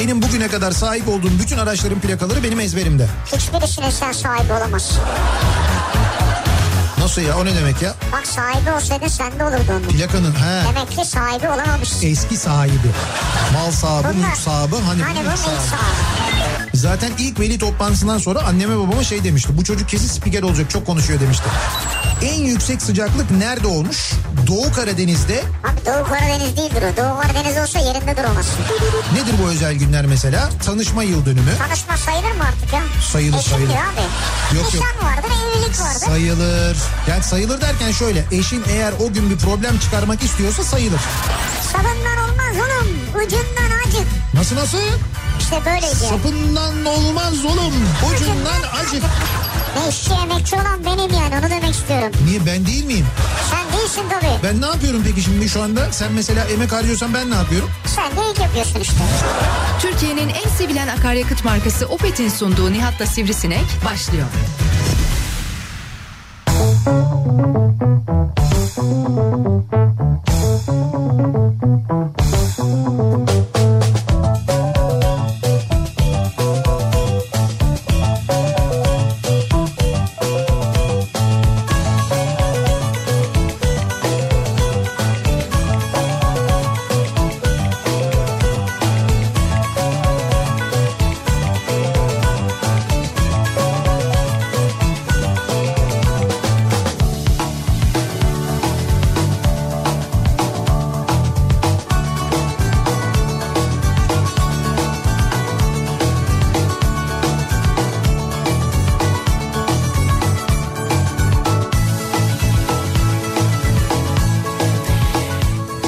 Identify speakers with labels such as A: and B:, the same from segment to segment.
A: Benim bugüne kadar sahip olduğum bütün araçların plakaları benim ezberimde.
B: Hiçbirisine sen sahibi olamazsın.
A: Nasıl ya o ne demek ya?
B: Bak sahibi olsaydın sende olurdu onun.
A: Plakanın he.
B: Demek ki sahibi olamamışsın.
A: Eski sahibi. Mal sahibi,
B: Bunlar-
A: mülk sahibi. Hani,
B: Hani
A: mülk
B: bunun ilk
A: sahibi.
B: sahibi.
A: Zaten ilk veli toplantısından sonra anneme babama şey demişti. Bu çocuk kesin spiker olacak çok konuşuyor demişti. En yüksek sıcaklık nerede olmuş? Doğu Karadeniz'de
B: Abi Doğu Karadeniz değildir o. Doğu Karadeniz olsa yerinde duramaz.
A: nedir bu özel günler mesela? Tanışma yıl dönümü.
B: Tanışma sayılır mı artık ya?
A: Sayılır,
B: Eşim
A: sayılır.
B: diyor abi.
A: Yok, yok.
B: Nişan vardır, evlilik vardır.
A: Sayılır. Yani sayılır derken şöyle eşin eğer o gün bir problem çıkarmak istiyorsa sayılır.
B: Sabından olmaz oğlum. Ucundan acık.
A: Nasıl nasıl?
B: İşte böyleydi. yani.
A: Sapından olmaz oğlum. Ucundan acık.
B: Ne işçi emekçi olan benim yani onu demek istiyorum.
A: Niye ben değil miyim?
B: Sen değilsin tabii.
A: Ben ne yapıyorum peki şimdi şu anda? Sen mesela emek harcıyorsan ben ne yapıyorum?
B: Sen de ilk yapıyorsun işte.
C: Türkiye'nin en sevilen akaryakıt markası Opet'in sunduğu Nihat'la Sivrisinek başlıyor.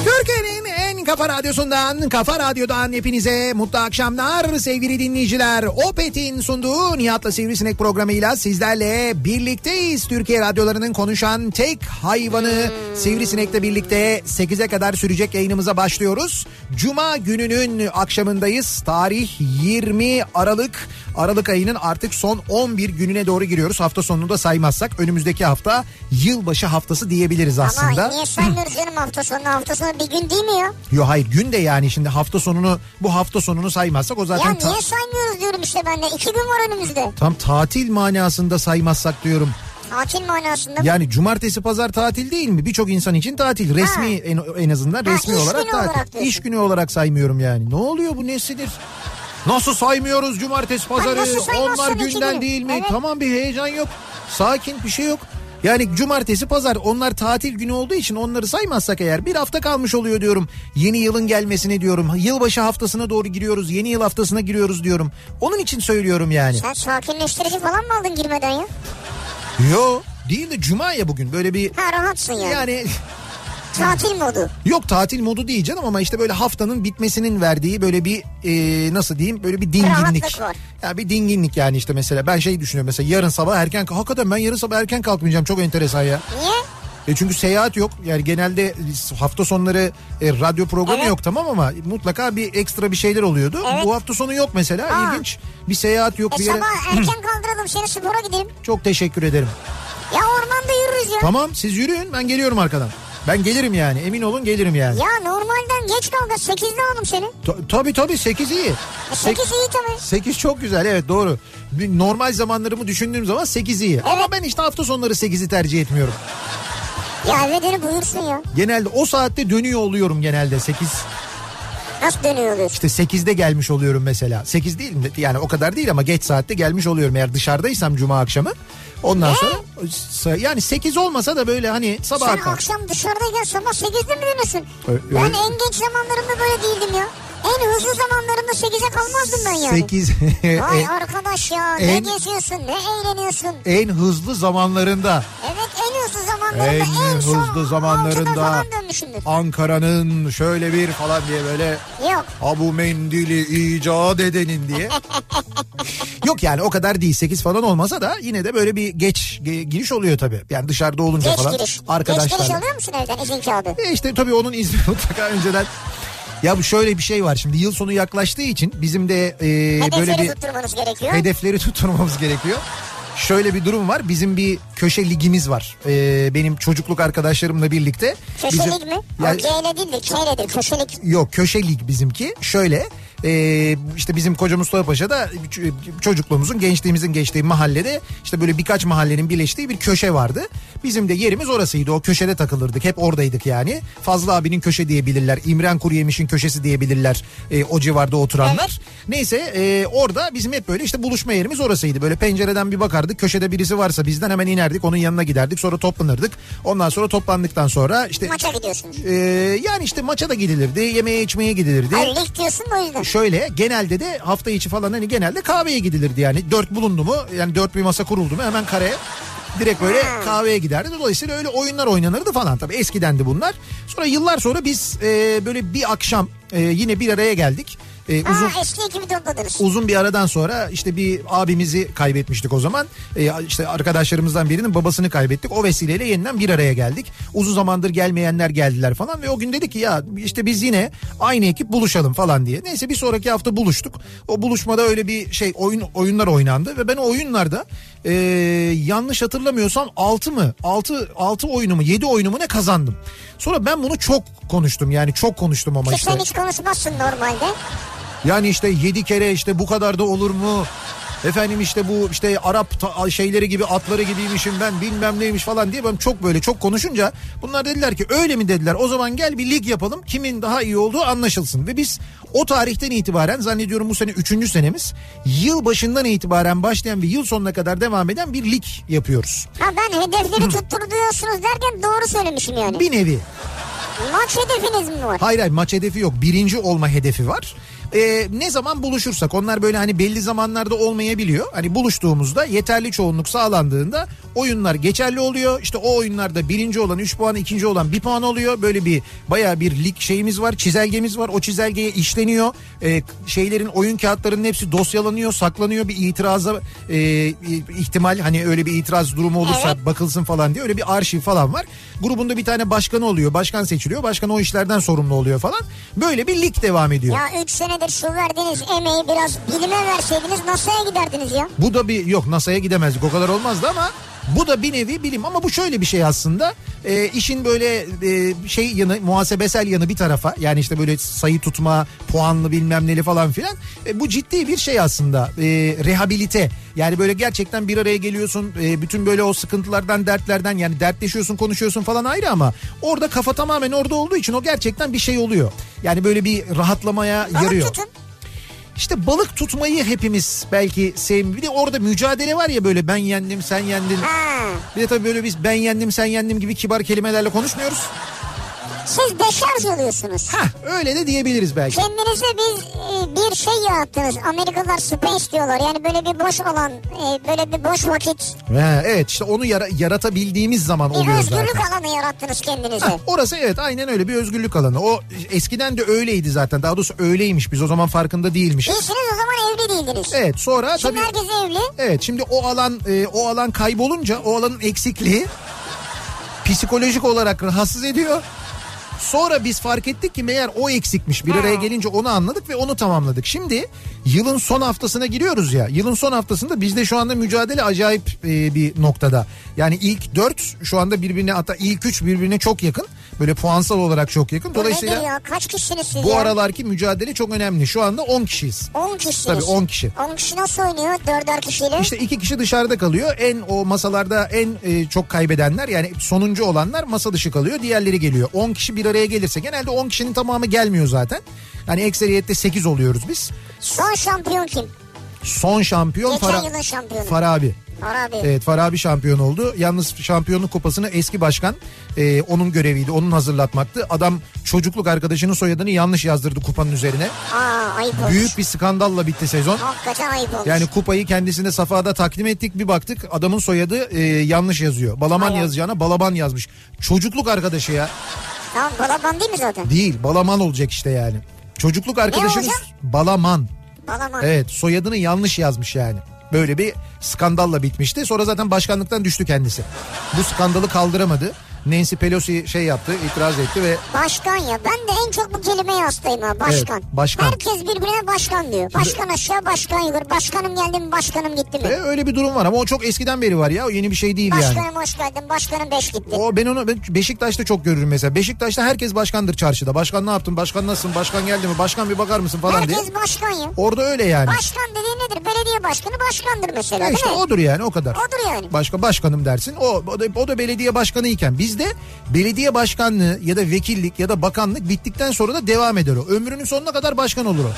A: Türkiye'nin en kafa radyosundan, kafa radyodan hepinize mutlu akşamlar sevgili dinleyiciler. Opet'in sunduğu Nihat'la Sivrisinek programıyla sizlerle birlikteyiz. Türkiye radyolarının konuşan tek hayvanı
B: Hmm.
A: Sivrisinek'le birlikte 8'e kadar sürecek yayınımıza başlıyoruz. Cuma gününün akşamındayız. Tarih 20 Aralık. Aralık ayının artık son 11 gününe doğru giriyoruz. Hafta sonunu da saymazsak önümüzdeki hafta yılbaşı haftası diyebiliriz aslında.
B: Ama niye saymıyoruz canım hafta sonu? Hafta sonu bir gün değil mi ya?
A: Yo hayır gün de yani şimdi hafta sonunu bu hafta sonunu saymazsak o zaten
B: ya
A: ta-
B: niye saymıyoruz diyorum işte ben de. İki gün var önümüzde.
A: tam tatil manasında saymazsak diyorum.
B: Tatil manasında. Ya,
A: Yani cumartesi pazar tatil değil mi? Birçok insan için tatil. Resmi en, en azından
B: Ha,
A: resmi
B: iş
A: olarak
B: günü
A: tatil.
B: olarak diyorsun.
A: İş günü olarak saymıyorum yani. Ne oluyor bu nesidir? Nasıl saymıyoruz cumartesi pazarı?
B: nasıl saymazsın
A: Onlar
B: iki
A: günden
B: günü?
A: değil mi?
B: Evet.
A: Tamam bir heyecan yok. Sakin bir şey yok. Yani cumartesi pazar onlar tatil günü olduğu için onları saymazsak eğer bir hafta kalmış oluyor diyorum. Yeni yılın gelmesini diyorum. Yılbaşı haftasına doğru giriyoruz. Yeni yıl haftasına giriyoruz diyorum. Onun için söylüyorum yani.
B: Sen sakinleştirici falan mı aldın girmeden ya?
A: Yo değil de cuma ya bugün böyle bir
B: Ha rahatsın yani.
A: yani
B: Tatil modu.
A: Yok tatil modu değil canım ama işte böyle haftanın bitmesinin verdiği böyle bir e, nasıl diyeyim böyle bir dinginlik.
B: Rahatlık var.
A: Ya bir dinginlik yani işte mesela ben şey düşünüyorum mesela yarın sabah erken hakikaten ben yarın sabah erken kalkmayacağım çok enteresan ya.
B: Niye?
A: E çünkü seyahat yok yani genelde hafta sonları e, radyo programı
B: Evet.
A: yok tamam ama mutlaka bir ekstra bir şeyler oluyordu.
B: Evet.
A: Bu hafta sonu yok mesela
B: Aa.
A: ilginç bir seyahat yok
B: E
A: bir yere.
B: sabah erken kaldıralım seni spora gidelim.
A: Çok teşekkür ederim.
B: Ya ormanda yürürüz ya.
A: Tamam siz yürüyün ben geliyorum arkadan. Ben gelirim yani emin olun gelirim yani.
B: Ya normalden geç kaldı. 8'de aldım seni.
A: Ta- tabii tabii 8 iyi.
B: E
A: Sek-
B: 8 iyi tabii.
A: 8 çok güzel evet doğru. Bir normal zamanlarımı düşündüğüm zaman 8 iyi. Ama ben işte hafta sonları 8'i tercih etmiyorum.
B: Ya eve dönüp uyursun ya.
A: Genelde o saatte dönüyor oluyorum genelde 8.
B: Nasıl dönüyor oluyorsun?
A: İşte 8'de gelmiş oluyorum mesela. 8 değil mi? Yani o kadar değil ama geç saatte gelmiş oluyorum eğer dışarıdaysam cuma akşamı. Ondan sonra yani 8 olmasa da böyle hani sabah
B: Sen
A: kalk.
B: akşam dışarıdayken sabah 8'de mi dönüyorsun?
A: Ö-
B: Ben
A: öyle-
B: en genç zamanlarımda böyle değildim ya. En hızlı zamanlarımda 8'e kalmazdım ben yani.
A: 8
B: Vay
A: en,
B: arkadaş ya
A: E, en-
B: ne geziyorsun ne eğleniyorsun.
A: en hızlı zamanlarında.
B: Evet en hızlı zamanlarımda en,
A: En hızlı
B: altıda
A: zamanlarında
B: falan dönmüşümdür.
A: Ankara'nın şöyle bir falan diye böyle
B: Yok
A: Abu Mendil'i icat edenin diye. Yok yani o kadar değil 8 falan olmasa da yine de böyle bir geç ge- giriş oluyor tabii. Yani dışarıda olunca
B: geç
A: falan
B: giriş. Geç giriş
A: arkadaşlarla.
B: alıyor musun evden izin kağıdı?
A: E işte tabii onun izni mutlaka önceden. Ya bu şöyle bir şey var şimdi yıl sonu yaklaştığı için bizim de e,
B: Hedefleri
A: böyle bir
B: tutturmanız gerekiyor.
A: hedefleri tutturmamız gerekiyor. Şöyle bir durum var. Bizim bir köşe ligimiz var. E, benim çocukluk arkadaşlarımla birlikte.
B: Köşelik
A: bizim-
B: mi?
A: Ya-
B: O G ile değil de K iledir köşelik.
A: Yok köşe lig bizimki. Şöyle e, işte bizim koca Mustafa Paşa da ç- çocukluğumuzun gençliğimizin geçtiği mahallede işte böyle birkaç mahallenin birleştiği bir köşe vardı. Bizim de yerimiz orasıydı o köşede takılırdık hep oradaydık yani. Fazla abinin köşe diyebilirler İmren Kuruyemiş'in köşesi diyebilirler e, o civarda oturanlar. Neyse e, orada bizim hep böyle işte buluşma yerimiz orasıydı böyle pencereden bir bakardık köşede birisi varsa bizden hemen inerdik onun yanına giderdik sonra toplanırdık. Ondan sonra toplandıktan sonra işte
B: Maça gidiyorsunuz.
A: e, yani işte maça da gidilirdi yemeğe içmeye gidilirdi
B: Hayır lig diyorsun da o yüzden.
A: şöyle genelde de hafta içi falan hani genelde kahveye gidilirdi yani. Dört bulundu mu yani dört bir masa kuruldu mu hemen kareye direkt böyle kahveye giderdi. Dolayısıyla öyle oyunlar oynanırdı falan tabii eskidendi bunlar. Sonra yıllar sonra biz e, böyle bir akşam e, yine bir araya geldik. E, uzun
B: Aa eski ekibi topladınız.
A: uzun bir aradan sonra işte bir abimizi kaybetmiştik o zaman. Ee, işte arkadaşlarımızdan birinin babasını kaybettik. O vesileyle yeniden bir araya geldik. Uzun zamandır gelmeyenler geldiler falan ve o gün dedik ki ya işte biz yine aynı ekip buluşalım falan diye. Neyse bir sonraki hafta buluştuk. O buluşmada öyle bir şey oyun oyunlar oynandı ve ben o oyunlarda ee, yanlış hatırlamıyorsam 6 mı 6 6 oyunu mu 7 oyunu mu ne kazandım. Sonra ben bunu çok konuştum yani çok konuştum ama
B: Ki
A: işte.
B: sen hiç konuşmazsın normalde.
A: Yani işte yedi kere işte bu kadar da olur mu? Efendim işte bu işte Arap ta- şeyleri gibi atları gibiymişim ben bilmem neymiş falan diye ben çok böyle çok konuşunca bunlar dediler ki öyle mi dediler o zaman gel bir lig yapalım kimin daha iyi olduğu anlaşılsın ve biz o tarihten itibaren zannediyorum bu sene 3. senemiz yıl başından itibaren başlayan ve yıl sonuna kadar devam eden bir lig yapıyoruz.
B: Ha ben hedefleri tutturuyorsunuz derken doğru söylemişim yani.
A: Bir nevi
B: Maç hedefiniz mi var?
A: Hayır hayır maç hedefi yok. Birinci olma hedefi var. Ee, ne zaman buluşursak onlar böyle hani belli zamanlarda olmayabiliyor. Hani buluştuğumuzda yeterli çoğunluk sağlandığında oyunlar geçerli oluyor. İşte o oyunlarda birinci olan 3 puan, ikinci olan 1 puan oluyor. Böyle bir baya bir lig şeyimiz var, çizelgemiz var. O çizelgeye işleniyor. Ee, şeylerin oyun kağıtlarının hepsi dosyalanıyor, saklanıyor. Bir itiraza e, ihtimal hani öyle bir itiraz durumu olursa
B: Evet.
A: bakılsın falan diye öyle bir arşiv falan var. Grubunda bir tane başkanı oluyor. Başkan seçiliyor. Başkan o işlerden sorumlu oluyor falan. Böyle bir lig devam ediyor.
B: Ya 3 senedir şu verdiğiniz emeği biraz bilime verseydiniz NASA'ya giderdiniz ya.
A: Bu da bir yok NASA'ya gidemezdik o kadar olmazdı ama bu da bir nevi bilim ama bu şöyle bir şey aslında Ee, işin böyle e, şey yanı muhasebesel yanı bir tarafa yani işte böyle sayı tutma puanlı bilmem neli falan filan E, bu ciddi bir şey aslında Ee, rehabilite yani böyle gerçekten bir araya geliyorsun e, bütün böyle o sıkıntılardan dertlerden yani dertleşiyorsun konuşuyorsun falan ayrı ama orada kafa tamamen orada olduğu için o gerçekten bir şey oluyor yani böyle bir rahatlamaya
B: Balık
A: yarıyor.
B: tutun.
A: İşte balık tutmayı hepimiz belki sevmiyoruz. Bir de orada mücadele var ya böyle ben yendim sen yendin.
B: Ha.
A: Bir de tabii böyle biz ben yendim sen yendim gibi kibar kelimelerle konuşmuyoruz.
B: Siz deşarj oluyorsunuz.
A: Hah öyle de diyebiliriz belki.
B: Kendinize biz e, bir şey yarattınız. Amerikalılar space diyorlar. Yani böyle bir boş olan, e, böyle bir boş vakit,
A: Ha, evet işte onu yara- yaratabildiğimiz zaman
B: bir
A: oluyor
B: özgürlük
A: zaten.
B: alanı yarattınız kendinize.
A: Ha, orası evet aynen öyle bir özgürlük alanı. O eskiden de öyleydi zaten. Daha doğrusu öyleymiş. Biz o zaman farkında değilmişiz.
B: İyisiniz o zaman evli değildiniz.
A: Evet sonra
B: Şimdi
A: tabii
B: herkes evli.
A: Evet şimdi o alan e, o alan kaybolunca o alanın eksikliği psikolojik olarak rahatsız ediyor. Sonra biz fark ettik ki meğer o eksikmiş. Bir araya gelince onu anladık ve onu tamamladık. Şimdi yılın son haftasına giriyoruz ya. Yılın son haftasında bizde şu anda mücadele acayip e, bir noktada. Yani ilk 4 şu anda birbirine hatta ilk 3 birbirine çok yakın. Böyle puansal olarak çok yakın.
B: Bu nedir
A: Dolayısıyla
B: ya? Kaç kişisiniz siz
A: bu
B: ya?
A: aralarki mücadele çok önemli. Şu anda 10 kişiyiz.
B: 10 kişisiniz.
A: Tabii, 10 kişi.
B: 10 kişi nasıl oynuyor? Dörder kişiyle.
A: İşte iki kişi dışarıda kalıyor. En o masalarda en e, çok kaybedenler yani sonuncu olanlar masa dışı kalıyor. Diğerleri geliyor. 10 kişi bir araya gelirse genelde 10 kişinin tamamı gelmiyor zaten. Yani ekseriyette 8 oluyoruz biz.
B: Son şampiyon kim?
A: Son şampiyon
B: Geçen
A: Fara,
B: yılın şampiyonu.
A: Farabi.
B: Arabi.
A: Evet Farabi şampiyon oldu. Yalnız şampiyonluk kupasını eski başkan e, onun göreviydi. Onun hazırlatmaktı. Adam çocukluk arkadaşının soyadını yanlış yazdırdı kupanın üzerine.
B: Aa ayıp olmuş.
A: Büyük bir skandalla bitti sezon.
B: Hakikaten Ah, ayıp olmuş.
A: Yani kupayı kendisine safhada takdim ettik bir baktık adamın soyadı e, yanlış yazıyor. Balaman
B: Aynen.
A: yazacağına Balaban yazmış. Çocukluk arkadaşı ya.
B: Tamam Balaban değil mi zaten?
A: Değil Balaman olacak işte yani. Çocukluk arkadaşınız
B: olacak?
A: Balaman.
B: Balaban.
A: Evet soyadını yanlış yazmış yani. Böyle bir skandalla bitmişti. Sonra zaten başkanlıktan düştü kendisi. Bu skandalı kaldıramadı. Nancy Pelosi şey yaptı, itiraz etti ve
B: Başkan ya. Ben de en çok bu kelimeye hastayım ha. Başkan.
A: Evet, başkan.
B: Herkes birbirine başkan diyor. Başkan aşağı başkan yukarı. Başkanım geldi mi başkanım gitti mi?
A: ve e, öyle bir durum var ama o çok eskiden beri var ya. O yeni bir şey değil yani.
B: Başkanım hoş geldin. Başkanım beş gitti.
A: O ben onu ben Beşiktaş'ta çok görürüm mesela. Beşiktaş'ta herkes başkandır çarşıda. Başkan ne yaptın? Başkan nasılsın? Başkan geldi mi? Başkan bir bakar mısın falan diye.
B: Herkes başkan ya.
A: Orada öyle yani.
B: Başkan dediğin nedir? Belediye başkanı başkandır mesela
A: Ya
B: değil
A: işte
B: mi?
A: odur yani o kadar.
B: Odur yani.
A: Başka başkanım dersin. O, o da, o da belediye başkanı iken bizde belediye başkanlığı ya da vekillik ya da bakanlık bittikten sonra da devam eder o. Ömrünün sonuna kadar başkan olur o.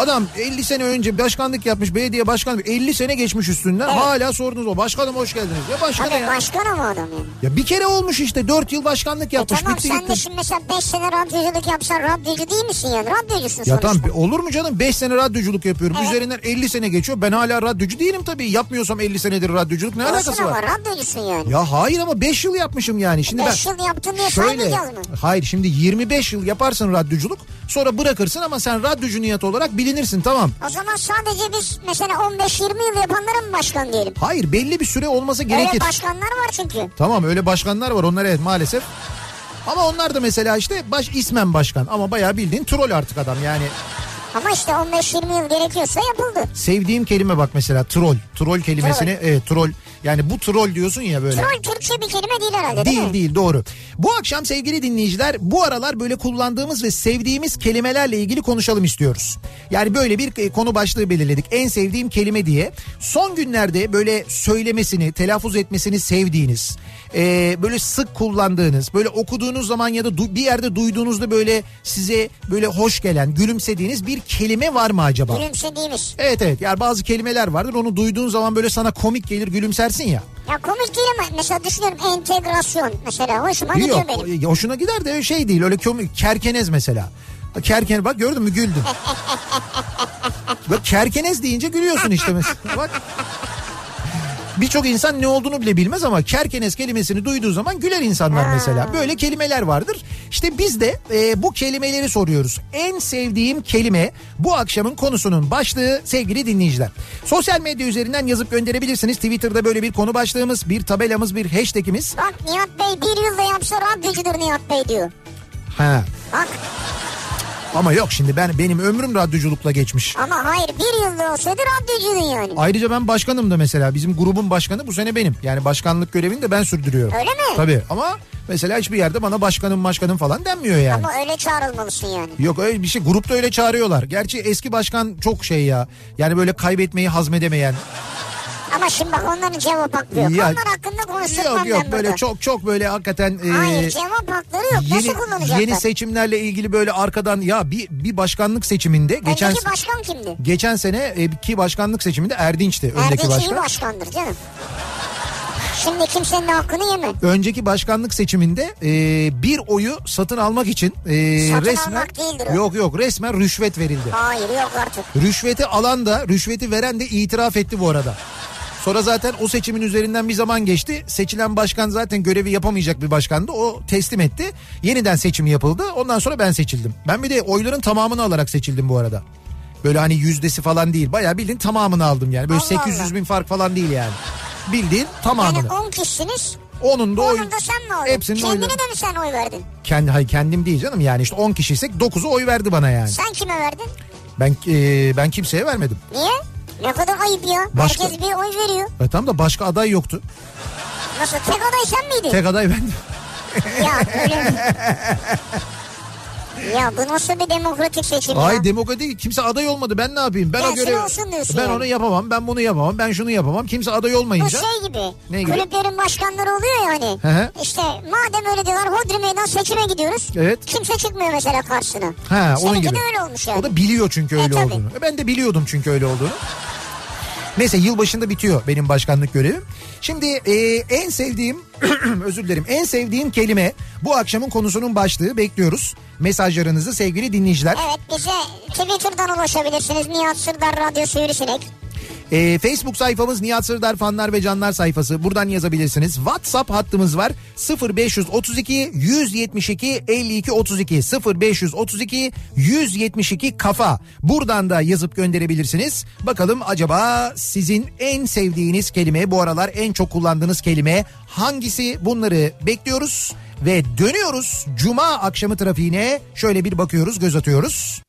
A: Adam 50 sene önce başkanlık yapmış belediye başkanı 50 sene geçmiş üstünden hala sordunuz o başkanım hoş geldiniz. Ya başkan
B: Tabii
A: ya.
B: başkan ama adam yani.
A: Ya bir kere olmuş işte 4 yıl başkanlık
B: E
A: yapmış.
B: tamam
A: bitti
B: sen
A: gitti.
B: de şimdi mesela 5 sene radyoculuk yapsan radyocu değil misin yani? Radyocusun
A: Ya
B: sonuçta.
A: tamam olur mu canım 5 sene radyoculuk yapıyorum.
B: Evet.
A: Üzerinden 50 sene geçiyor. Ben hala radyocu değilim tabii. Yapmıyorsam 50 senedir radyoculuk ne alakası
B: Olsun
A: var?
B: ama radyocusun yani.
A: Ya hayır ama 5 yıl yapmışım yani. Şimdi ben
B: 5 yıl yaptın diye
A: şöyle
B: saymayacağız mı?
A: hayır şimdi 25 yıl yaparsın radyoculuk sonra bırakırsın ama sen radyocu niyet olarak bilinirsin tamam.
B: O zaman sadece biz mesela 15-20 yıl yapanlara mı başkan diyelim?
A: Hayır belli bir süre olması gerekir.
B: Öyle başkanlar var çünkü.
A: Tamam öyle başkanlar var onlar evet maalesef. Ama onlar da mesela işte baş ismen başkan ama bayağı bildiğin troll artık adam yani.
B: Ama işte 15-20 yıl gerekiyorsa yapıldı.
A: Sevdiğim kelime bak mesela troll. Troll kelimesini evet troll. Yani bu troll diyorsun ya böyle.
B: Troll Türkçe bir kelime değil herhalde değil,
A: Değil
B: mi?
A: değil doğru. Bu akşam sevgili dinleyiciler bu aralar böyle kullandığımız ve sevdiğimiz kelimelerle ilgili konuşalım istiyoruz. Yani böyle bir e, konu başlığı belirledik. En sevdiğim kelime diye. Son günlerde böyle söylemesini, telaffuz etmesini sevdiğiniz, e, böyle sık kullandığınız, böyle okuduğunuz zaman ya da du- bir yerde duyduğunuzda böyle size böyle hoş gelen, gülümsediğiniz bir kelime var mı acaba?
B: Gülümsediğimiz.
A: Evet evet yani bazı kelimeler vardır onu duyduğun zaman böyle sana komik gelir gülümsersin ya.
B: Ya komik değil ama mesela düşünüyorum entegrasyon mesela hoşuma gidiyor
A: Yok
B: benim.
A: o- hoşuna gider de şey değil öyle komik kerkenez mesela. Kerken bak gördün mü güldün. bak kerkenez deyince gülüyorsun işte mesela. Bak Birçok insan ne olduğunu bile bilmez ama kerkenez kelimesini duyduğu zaman güler insanlar mesela. Böyle kelimeler vardır. İşte biz de e, bu kelimeleri soruyoruz. En sevdiğim kelime bu akşamın konusunun başlığı sevgili dinleyiciler. Sosyal medya üzerinden yazıp gönderebilirsiniz. Twitter'da böyle bir konu başlığımız, bir tabelamız, bir hashtagimiz.
B: Bak Nihat Bey bir yılda yapsa radyocudur Nihat Bey diyor.
A: Ha.
B: Bak
A: Ama yok şimdi ben benim ömrüm radyoculukla geçmiş.
B: ama hayır bir yılda olsaydı radyocudun yani.
A: Ayrıca ben başkanım da mesela bizim grubun başkanı bu sene benim. Yani başkanlık görevini de ben sürdürüyorum.
B: Öyle mi?
A: Tabii ama mesela hiçbir yerde bana başkanım başkanım falan denmiyor yani.
B: Ama öyle çağrılmalısın yani.
A: Yok öyle bir şey grupta öyle çağırıyorlar. Gerçi eski başkan çok şey ya. Yani böyle kaybetmeyi hazmedemeyen.
B: Ama şimdi bak onların cevap hakkı yok.
A: Ya-
B: Onlar hakkında konuşulmam
A: Yok yok
B: ben
A: böyle
B: burada.
A: çok çok böyle hakikaten e,
B: Hayır cevap hakları yok. Nasıl kullanacaklar?
A: yeni, yeni seçimlerle ilgili böyle arkadan ya bir bir başkanlık seçiminde geçen
B: Öndeki başkan kimdi?
A: geçen sene e, ki başkanlık seçiminde Erdinç'ti öndeki
B: Erdinç iyi
A: başkan.
B: başkandır canım. Şimdi kimsenin de hakkını yeme.
A: önceki başkanlık seçiminde e, bir oyu satın almak için e,
B: Satın
A: resmen
B: almak değildir o.
A: yok yok resmen rüşvet verildi.
B: Hayır yok artık.
A: Rüşveti alan da rüşveti veren de itiraf etti bu arada. Sonra zaten o seçimin üzerinden bir zaman geçti. Seçilen başkan zaten görevi yapamayacak bir başkandı. O teslim etti. Yeniden seçim yapıldı. Ondan sonra ben seçildim. Ben bir de oyların tamamını alarak seçildim bu arada. Böyle hani yüzdesi falan değil. Bayağı bildiğin tamamını aldım yani. Böyle
B: Allah Allah.
A: 800 bin fark falan değil yani. Bildiğin tamamını.
B: Yani 10 kişisiniz.
A: onun da oy...
B: Onun da sen mi oldun?
A: Hepsinin
B: Kendine
A: oyları-
B: de mi sen oy verdin?
A: Kendi, hayır kendim değil canım yani işte 10 kişiysek 9'u oy verdi bana yani.
B: Sen kime verdin?
A: Ben e, ben kimseye vermedim.
B: Niye? Ne kadar ayıp ya.
A: Başka-
B: Herkes bir oy veriyor.
A: E, tam da başka aday yoktu.
B: Nasıl tek aday sen miydin?
A: Tek aday bendim.
B: Ya öyle mi? Ya bu nasıl bir demokratik seçim ya?
A: Ay demokratik kimse aday olmadı ben ne yapayım? Ben o
B: Gelsin
A: görev...
B: olsun diyorsun
A: Ben
B: yani.
A: onu yapamam ben bunu yapamam ben şunu yapamam kimse aday
B: Bu
A: olmayınca.
B: şey gibi.
A: Ne gibi?
B: Kulüplerin başkanları oluyor ya hani.
A: Hı hı.
B: İşte madem öyle diyorlar hodri meydan seçime gidiyoruz.
A: Evet.
B: Kimse çıkmıyor mesela karşısına.
A: Ha, onun
B: Seninki
A: gibi.
B: de öyle olmuş yani.
A: O da biliyor çünkü öyle
B: tabii.
A: olduğunu. E, Ben de biliyordum çünkü öyle olduğunu. Neyse yılbaşında bitiyor benim başkanlık görevim. Şimdi e, en sevdiğim özür dilerim en sevdiğim kelime bu akşamın konusunun başlığı bekliyoruz. Mesajlarınızı sevgili dinleyiciler.
B: Evet bize Twitter'dan ulaşabilirsiniz. Nihat Sırdar Radyo Sivrisinek.
A: Ee, Facebook sayfamız Nihat Sırdar fanlar ve canlar sayfası. Buradan yazabilirsiniz. WhatsApp hattımız var. 0532 172 52 32 0532 172 kafa. Buradan da yazıp gönderebilirsiniz. Bakalım acaba sizin en sevdiğiniz kelime bu aralar en çok kullandığınız kelime hangisi? Bunları bekliyoruz ve dönüyoruz. Cuma akşamı trafiğine şöyle bir bakıyoruz, göz atıyoruz.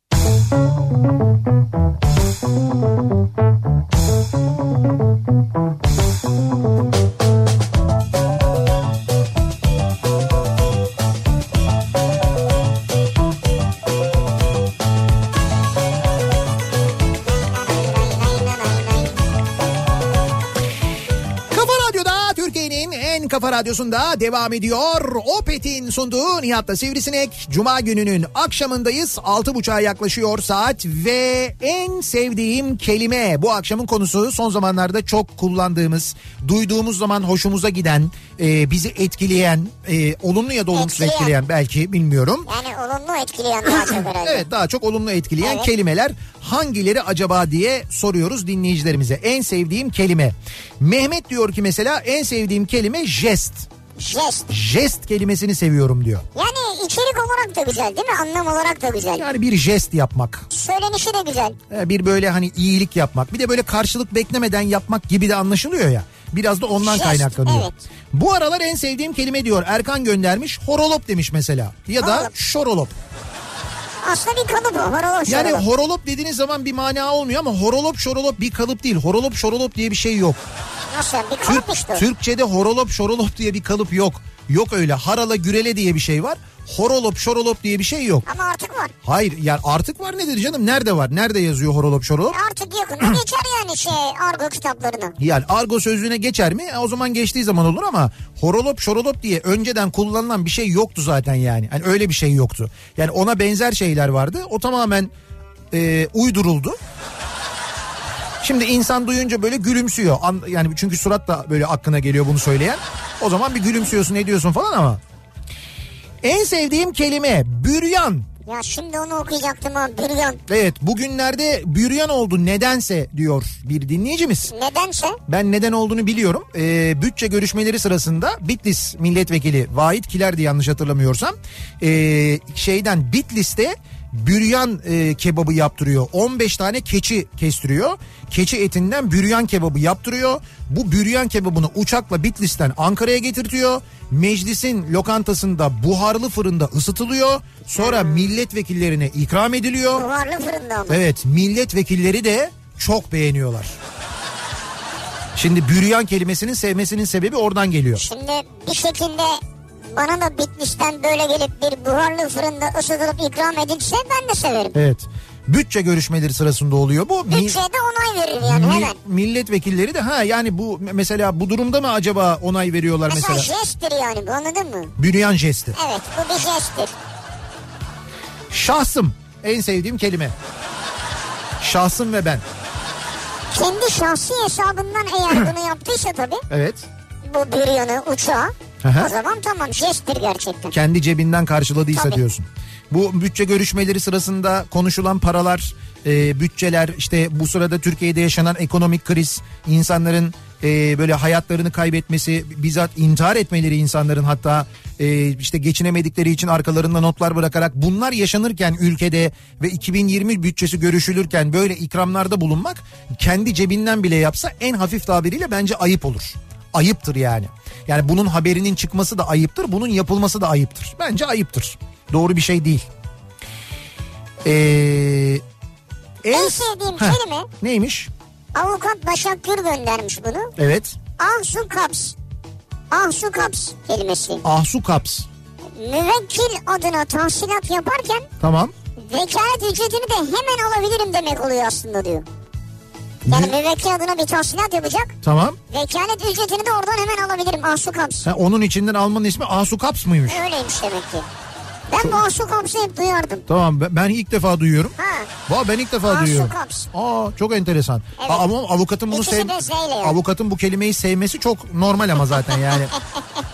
A: Kafa Radyo'da Türkiye'nin en kafa radyosunda devam ediyor. Opet'in sunduğu Nihat'la Sivrisinek. Cuma gününün akşamındayız. 6.30'a yaklaşıyor saat ve en sevdiğim kelime bu akşamın konusu son zamanlarda çok kullandığımız, duyduğumuz zaman hoşumuza giden, e, bizi etkileyen, e, olumlu ya da olumsuz
B: Etkileyen.
A: etkileyen belki bilmiyorum.
B: Yani olumlu etkileyen daha çok herhalde.
A: Evet daha çok olumlu etkileyen
B: Evet.
A: kelimeler hangileri acaba diye soruyoruz dinleyicilerimize. En sevdiğim kelime. Mehmet diyor ki mesela en sevdiğim kelime jest.
B: Jest.
A: Jest kelimesini seviyorum diyor.
B: Yani içerik olarak da güzel değil mi? Anlam olarak da güzel.
A: Yani bir jest yapmak.
B: Söylenişi de güzel.
A: e, Bir böyle hani iyilik yapmak. Bir de böyle karşılık beklemeden yapmak gibi de anlaşılıyor ya. Biraz da ondan
B: Jest,
A: kaynaklanıyor.
B: evet.
A: Bu aralar en sevdiğim kelime diyor. Erkan göndermiş. Horolop demiş mesela. Ya da
B: Horolop.
A: şorolop.
B: Aslında bir kalıp o. Horolop
A: Yani
B: şorolop.
A: horolop dediğiniz zaman bir mana olmuyor ama horolop şorolop bir kalıp değil. Horolop şorolop diye bir şey yok.
B: Nasıl yani? Bir kalıp
A: Türk,
B: işte o.
A: Türkçe'de horolop şorolop diye bir kalıp yok. Yok öyle harala gürele diye bir şey var. Horolop şorolop diye bir şey yok.
B: Ama artık var.
A: Hayır yani artık var nedir canım? Nerede var? Nerede yazıyor horolop şorolop?
B: Artık yakında geçer yani şey argo kitaplarını.
A: Yani argo sözlüğüne geçer mi? E, O zaman geçtiği zaman olur ama horolop şorolop diye önceden kullanılan bir şey yoktu zaten yani. Hani öyle bir şey yoktu. Yani ona benzer şeyler vardı. O tamamen e, uyduruldu. Şimdi insan duyunca böyle gülümsüyor. An- Yani çünkü surat da böyle aklına geliyor bunu söyleyen. O zaman bir gülümsüyorsun ediyorsun falan ama. En sevdiğim kelime büryan.
B: Ya şimdi onu okuyacaktım ha büryan.
A: Evet bugünlerde büryan oldu nedense diyor bir dinleyicimiz.
B: Nedense
A: Ben neden olduğunu biliyorum. Ee, bütçe görüşmeleri sırasında Bitlis milletvekili Vahit Kiler'di yanlış hatırlamıyorsam. Ee, şeyden Bitlis'te büryan e, kebabı yaptırıyor. 15 tane keçi kestiriyor. Keçi etinden büryan kebabı yaptırıyor. Bu büryan kebabını uçakla Bitlis'ten Ankara'ya getirtiyor. Meclisin lokantasında buharlı fırında ısıtılıyor. Sonra milletvekillerine ikram ediliyor.
B: duvarlı fırında ama.
A: Evet milletvekilleri de çok beğeniyorlar. Şimdi büryan kelimesinin sevmesinin sebebi oradan geliyor.
B: Şimdi bir şekilde bana da Bitlis'ten böyle gelip bir buharlı fırında ısıtılıp ikram edilse ben de severim.
A: Evet. Bütçe görüşmeleri sırasında oluyor bu. Mi-
B: Bütçeye de onay verir yani
A: mi-
B: hemen.
A: milletvekilleri de ha yani bu me- mesela bu durumda mı acaba onay veriyorlar
B: Mesela,
A: mesela?
B: jesttir yani bu anladın mı?
A: Büryan jesti.
B: Evet bu bir jesttir.
A: Şahsım en sevdiğim kelime. Şahsım ve ben.
B: Kendi şahsi hesabından eğer bunu yaptıysa tabii
A: Evet.
B: bu büryanı uçağı
A: Aha.
B: o zaman tamam jesttir gerçekten.
A: kendi cebinden karşıladıysa
B: Tabii.
A: diyorsun. Bu bütçe görüşmeleri sırasında konuşulan paralar, e, bütçeler işte bu sırada Türkiye'de yaşanan ekonomik kriz, insanların e, böyle hayatlarını kaybetmesi, bizzat intihar etmeleri insanların hatta e, işte geçinemedikleri için arkalarında notlar bırakarak bunlar yaşanırken ülkede ve 2020 bütçesi görüşülürken böyle ikramlarda bulunmak kendi cebinden bile yapsa en hafif tabiriyle bence ayıp olur ayıptır yani. Yani bunun haberinin çıkması da ayıptır, bunun yapılması da ayıptır. Bence ayıptır. Doğru bir şey değil. Ee,
B: En
A: en-
B: sevdiğim
A: Heh,
B: kelime
A: Neymiş?
B: avukat Başak Gür göndermiş bunu.
A: Evet.
B: Ahsu Ah, kaps. Ahsu kaps kelimesi.
A: Ahsu kaps.
B: Müvekkil adına tahsilat yaparken
A: Tamam.
B: vekalet ücretini de hemen alabilirim demek oluyor aslında diyor. Yani müvekkil adına bir tahsilat yapacak.
A: Tamam.
B: Vekalet ücretini de oradan hemen alabilirim. Ahsu kaps.
A: Ha, onun içinden Alman'ın ismi Ahsu kaps mıymış?
B: Öyleymiş demek ki. Ben bu ahsu kapsı hep duyardım.
A: Tamam ben- ben ilk defa duyuyorum.
B: Ha.
A: Va ben ilk defa
B: Ahsu
A: duyuyorum.
B: kaps.
A: Aa çok enteresan.
B: Evet.
A: Aa, ama avukatın bunu
B: İkisi
A: sev
B: de şeyle yani.
A: avukatın bu kelimeyi sevmesi çok normal ama zaten yani.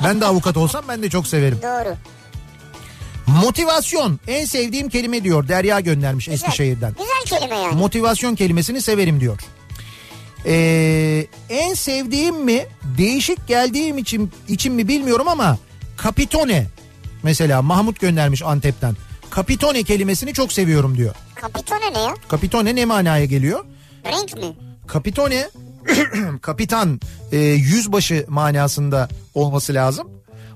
A: ben de avukat olsam ben de çok severim.
B: Doğru.
A: Motivasyon en sevdiğim kelime diyor Derya göndermiş
B: Güzel.
A: Eskişehir'den.
B: Güzel kelime yani.
A: Motivasyon kelimesini severim diyor. Ee, en sevdiğim mi değişik geldiğim için için mi bilmiyorum ama Capitone mesela Mahmut göndermiş Antep'ten. Capitone kelimesini çok seviyorum diyor.
B: Kapitone ne ya?
A: Capitone ne manaya geliyor?
B: Renk mi?
A: Capitone kapitan e, yüzbaşı manasında olması lazım.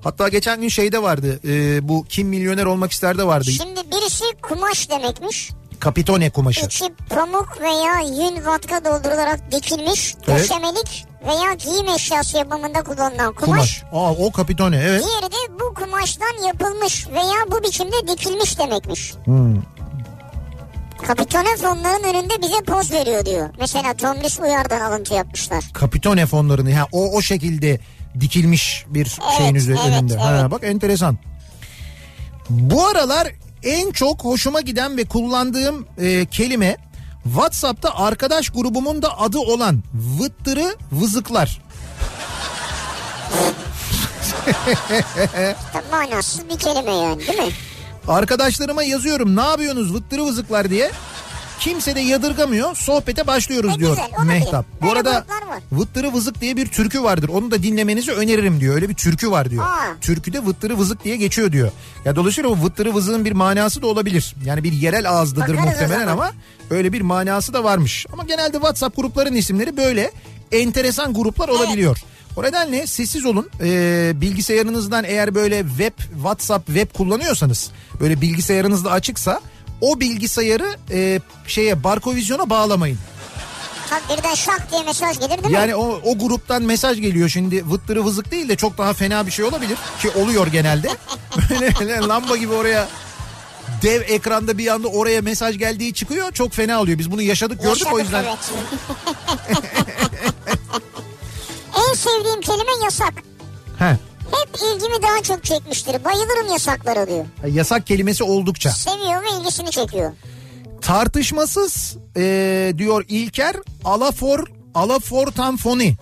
A: Hatta geçen gün şeyde vardı e, bu kim milyoner olmak ister'de vardı.
B: Şimdi birisi kumaş demekmiş.
A: Capitone kumaşı.
B: İçi pamuk veya yün vatka doldurularak dikilmiş.
A: Evet.
B: Döşemelik veya giyim eşyası yapımında kullanılan kumaş.
A: Kumaş. Aa, o Capitone evet.
B: Diğeri de bu kumaştan yapılmış veya bu biçimde dikilmiş demekmiş.
A: Hmm.
B: Kapitone fonların önünde bize poz veriyor diyor. Mesela Tomris Uyar'dan alıntı yapmışlar.
A: Capitone fonlarını ha, o o şekilde dikilmiş bir
B: Evet,
A: şeyin üzerinde.
B: evet,
A: Ha,
B: evet.
A: bak enteresan. Bu aralar en çok hoşuma giden ve kullandığım e, kelime WhatsApp'ta arkadaş grubumun da adı olan vıttırı vızıklar.
B: İşte manasız bir kelime yani değil mi?
A: Arkadaşlarıma yazıyorum ne yapıyorsunuz vıttırı vızıklar diye. Kimse de yadırgamıyor. Sohbete başlıyoruz
B: E,
A: diyor
B: güzel, olabilir.
A: Mehtap. Bu
B: Böyle
A: arada
B: gruplar var.
A: vıttırı vızık diye bir türkü vardır. Onu da dinlemenizi öneririm diyor. Öyle bir türkü var diyor.
B: Aa.
A: Türküde vıttırı vızık diye geçiyor diyor. Ya dolayısıyla o vıttırı vızığın bir manası da olabilir. Yani bir yerel ağızdadır
B: Bakarız o
A: muhtemelen
B: zaman.
A: ama öyle bir manası da varmış. Ama genelde WhatsApp grupların isimleri böyle enteresan gruplar olabiliyor. O nedenle sessiz olun. Ee, bilgisayarınızdan eğer böyle web, WhatsApp web kullanıyorsanız böyle bilgisayarınızda açıksa o bilgisayarı e, şeye Barkovizyon'a bağlamayın.
B: Tabii birden şak diye mesaj gelir değil mi?
A: Yani o, o gruptan mesaj geliyor şimdi vıttırı vızık değil de çok daha fena bir şey olabilir ki oluyor genelde. Böyle- Böyle lamba gibi oraya dev ekranda bir anda oraya mesaj geldiği çıkıyor çok fena oluyor. Biz bunu yaşadık gördük o
B: Yaşadık,
A: yüzden.
B: evet. en sevdiğim kelime yasak.
A: He,
B: Hep ilgimi daha çok çekmiştir. Bayılırım yasaklara diyor.
A: yasak kelimesi oldukça.
B: Seviyor ve ilgisini çekiyor.
A: Tartışmasız e, diyor İlker Alafor Alafortan foni.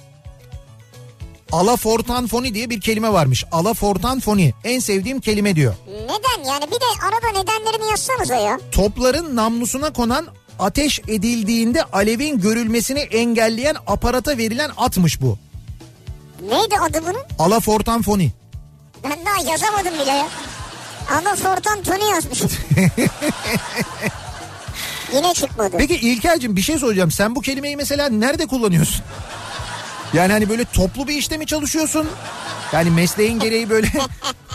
A: Alafortan foni diye bir kelime varmış. Alafortan foni en sevdiğim kelime diyor.
B: Neden yani bir de arada nedenlerini yazsanıza ya.
A: topların namlusuna konan ateş edildiğinde alevin görülmesini engelleyen aparata verilen atmış bu.
B: Neydi adı bunun?
A: Alafortan foni.
B: Ben daha yazamadım bile ya. Ama Fortan Tony yazmış. Yine çıkmadı.
A: Peki İlker'cim bir şey soracağım. Sen bu kelimeyi mesela nerede kullanıyorsun? Yani hani böyle toplu bir işte mi çalışıyorsun? Yani mesleğin gereği böyle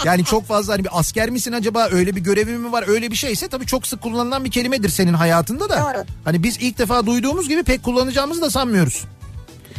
A: yani çok fazla hani bir asker misin acaba öyle bir görevin mi var öyle bir şeyse tabii çok sık kullanılan bir kelimedir senin hayatında da.
B: Doğru.
A: Hani biz ilk defa duyduğumuz gibi pek kullanacağımızı da sanmıyoruz.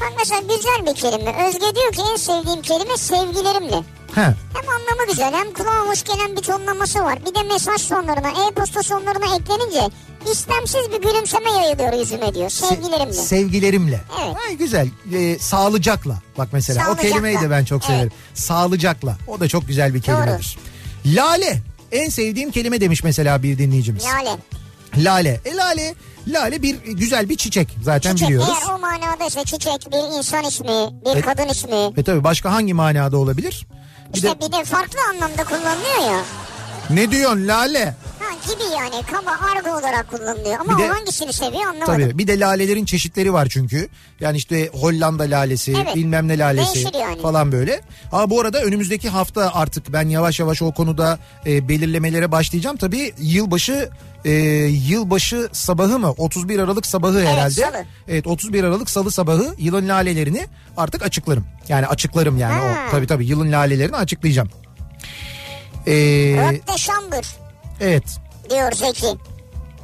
B: Bak mesela güzel bir kelime. Özge diyor ki en sevdiğim kelime sevgilerimle.
A: He.
B: Hem anlamı güzel hem kulağa hoş gelen bir tonlaması var. Bir de mesaj sonlarına, e-posta sonlarına eklenince istemsiz bir gülümseme yayılıyor yüzüme diyor. Sevgilerimle.
A: Sevgilerimle.
B: Evet.
A: Ay güzel. Ee, sağlıcakla. Bak mesela o
B: Sağlıcakla.
A: kelimeyi de ben çok
B: Evet.
A: severim. Sağlıcakla. O da çok güzel bir kelimedir. Lale. En sevdiğim kelime demiş mesela bir dinleyicimiz.
B: Lale.
A: Lale. E lale. Lale bir güzel bir çiçek zaten
B: Çiçek
A: biliyoruz.
B: eğer o manadaysa çiçek bir insan ismi, bir
A: E-
B: kadın ismi.
A: Ve tabii başka hangi manada olabilir? Bir
B: İşte
A: de
B: bir de farklı anlamda kullanılıyor ya.
A: ne diyorsun lale?
B: Ha, gibi yani kaba argo olarak kullanılıyor. Ama
A: Bir de-
B: o hangisini seviyor anlamadım.
A: Tabii bir de lalelerin çeşitleri var çünkü. Yani işte Hollanda lalesi,
B: Evet. hani.
A: bilmem ne lalesi
B: Değişir yani.
A: falan böyle. Ama bu arada önümüzdeki hafta artık ben yavaş yavaş o konuda e, belirlemelere başlayacağım. Tabii yılbaşı e, yılbaşı sabahı mı? 31 Aralık sabahı herhalde.
B: salı.
A: Evet 31 Aralık salı sabahı yılın lalelerini artık açıklarım. Yani açıklarım yani
B: Ha.
A: o tabii tabii yılın lalelerini açıklayacağım. E,
B: Röpte şambır
A: evet
B: diyor Zeki.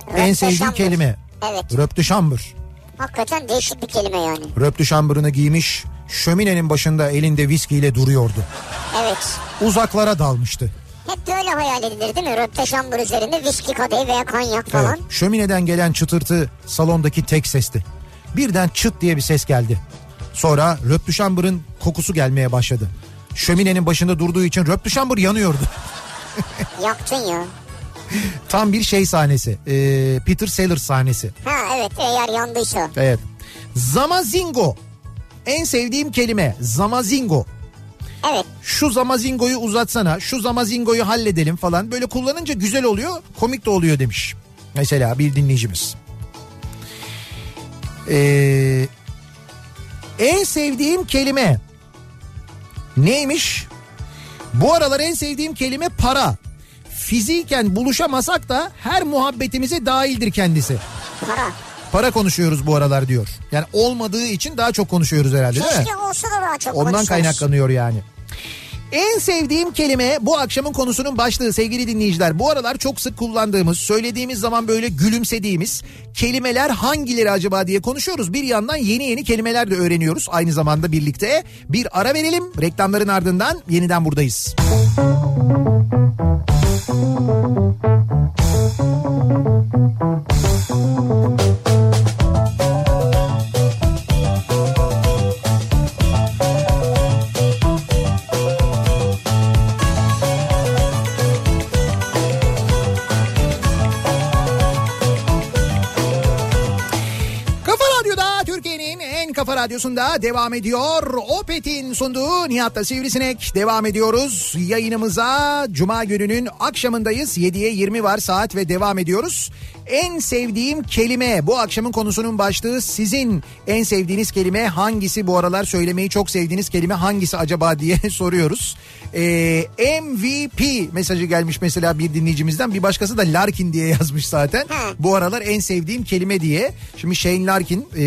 A: en
B: Röpte
A: sevdiğim
B: şambır.
A: kelime.
B: Evet
A: Röptüşambur.
B: hakikaten değişik bir kelime yani.
A: Röptü şambırını giymiş, şöminenin başında elinde viskiyle duruyordu.
B: Evet.
A: Uzaklara dalmıştı.
B: Hep böyle hayal edilir değil mi? Röpte şambır üzerinde viski kadehi veya kanyak
A: Evet,
B: falan.
A: şömineden gelen çıtırtı salondaki tek sesti. Birden çıt diye bir ses geldi. Sonra röptü şambırın kokusu gelmeye başladı. Şöminenin başında durduğu için röptü şambır yanıyordu.
B: Yaktın ya.
A: Tam bir şey sahnesi. Ee, Peter Sellers sahnesi.
B: Ha evet eğer yandıysa.
A: Evet. Zamazingo. En sevdiğim kelime zamazingo.
B: Evet
A: şu zamazingoyu uzatsana, şu zamazingoyu halledelim falan. Böyle kullanınca güzel oluyor, komik de oluyor demiş. Mesela bir dinleyicimiz. Ee, En sevdiğim kelime neymiş? Bu aralar en sevdiğim kelime para. Fiziken buluşamasak da her muhabbetimize dahildir kendisi.
B: Para.
A: Para konuşuyoruz bu aralar diyor. Yani olmadığı için daha çok konuşuyoruz herhalde değil mi?
B: Keşke olsa da daha çok
A: Ondan
B: konuşuruz.
A: kaynaklanıyor yani. En sevdiğim kelime bu akşamın konusunun başlığı sevgili dinleyiciler. Bu aralar çok sık kullandığımız, söylediğimiz zaman böyle gülümsediğimiz kelimeler hangileri acaba diye konuşuyoruz. Bir yandan yeni yeni kelimeler de öğreniyoruz aynı zamanda birlikte. Bir ara verelim. Reklamların ardından yeniden buradayız. Kafa Radyo'da Türkiye'nin en kafa radyosunda devam ediyor. Opet'in sunduğu Nihat'ta Sivrisinek devam ediyoruz. Yayınımıza Cuma gününün akşamındayız. 7'ye 20 var saat ve devam ediyoruz. En sevdiğim kelime bu akşamın konusunun başlığı sizin en sevdiğiniz kelime hangisi bu aralar söylemeyi çok sevdiğiniz kelime hangisi acaba diye soruyoruz. Ee, MVP mesajı gelmiş mesela bir dinleyicimizden bir başkası da Larkin diye yazmış zaten.
B: Hı.
A: Bu aralar en sevdiğim kelime diye. Şimdi Shane Larkin e,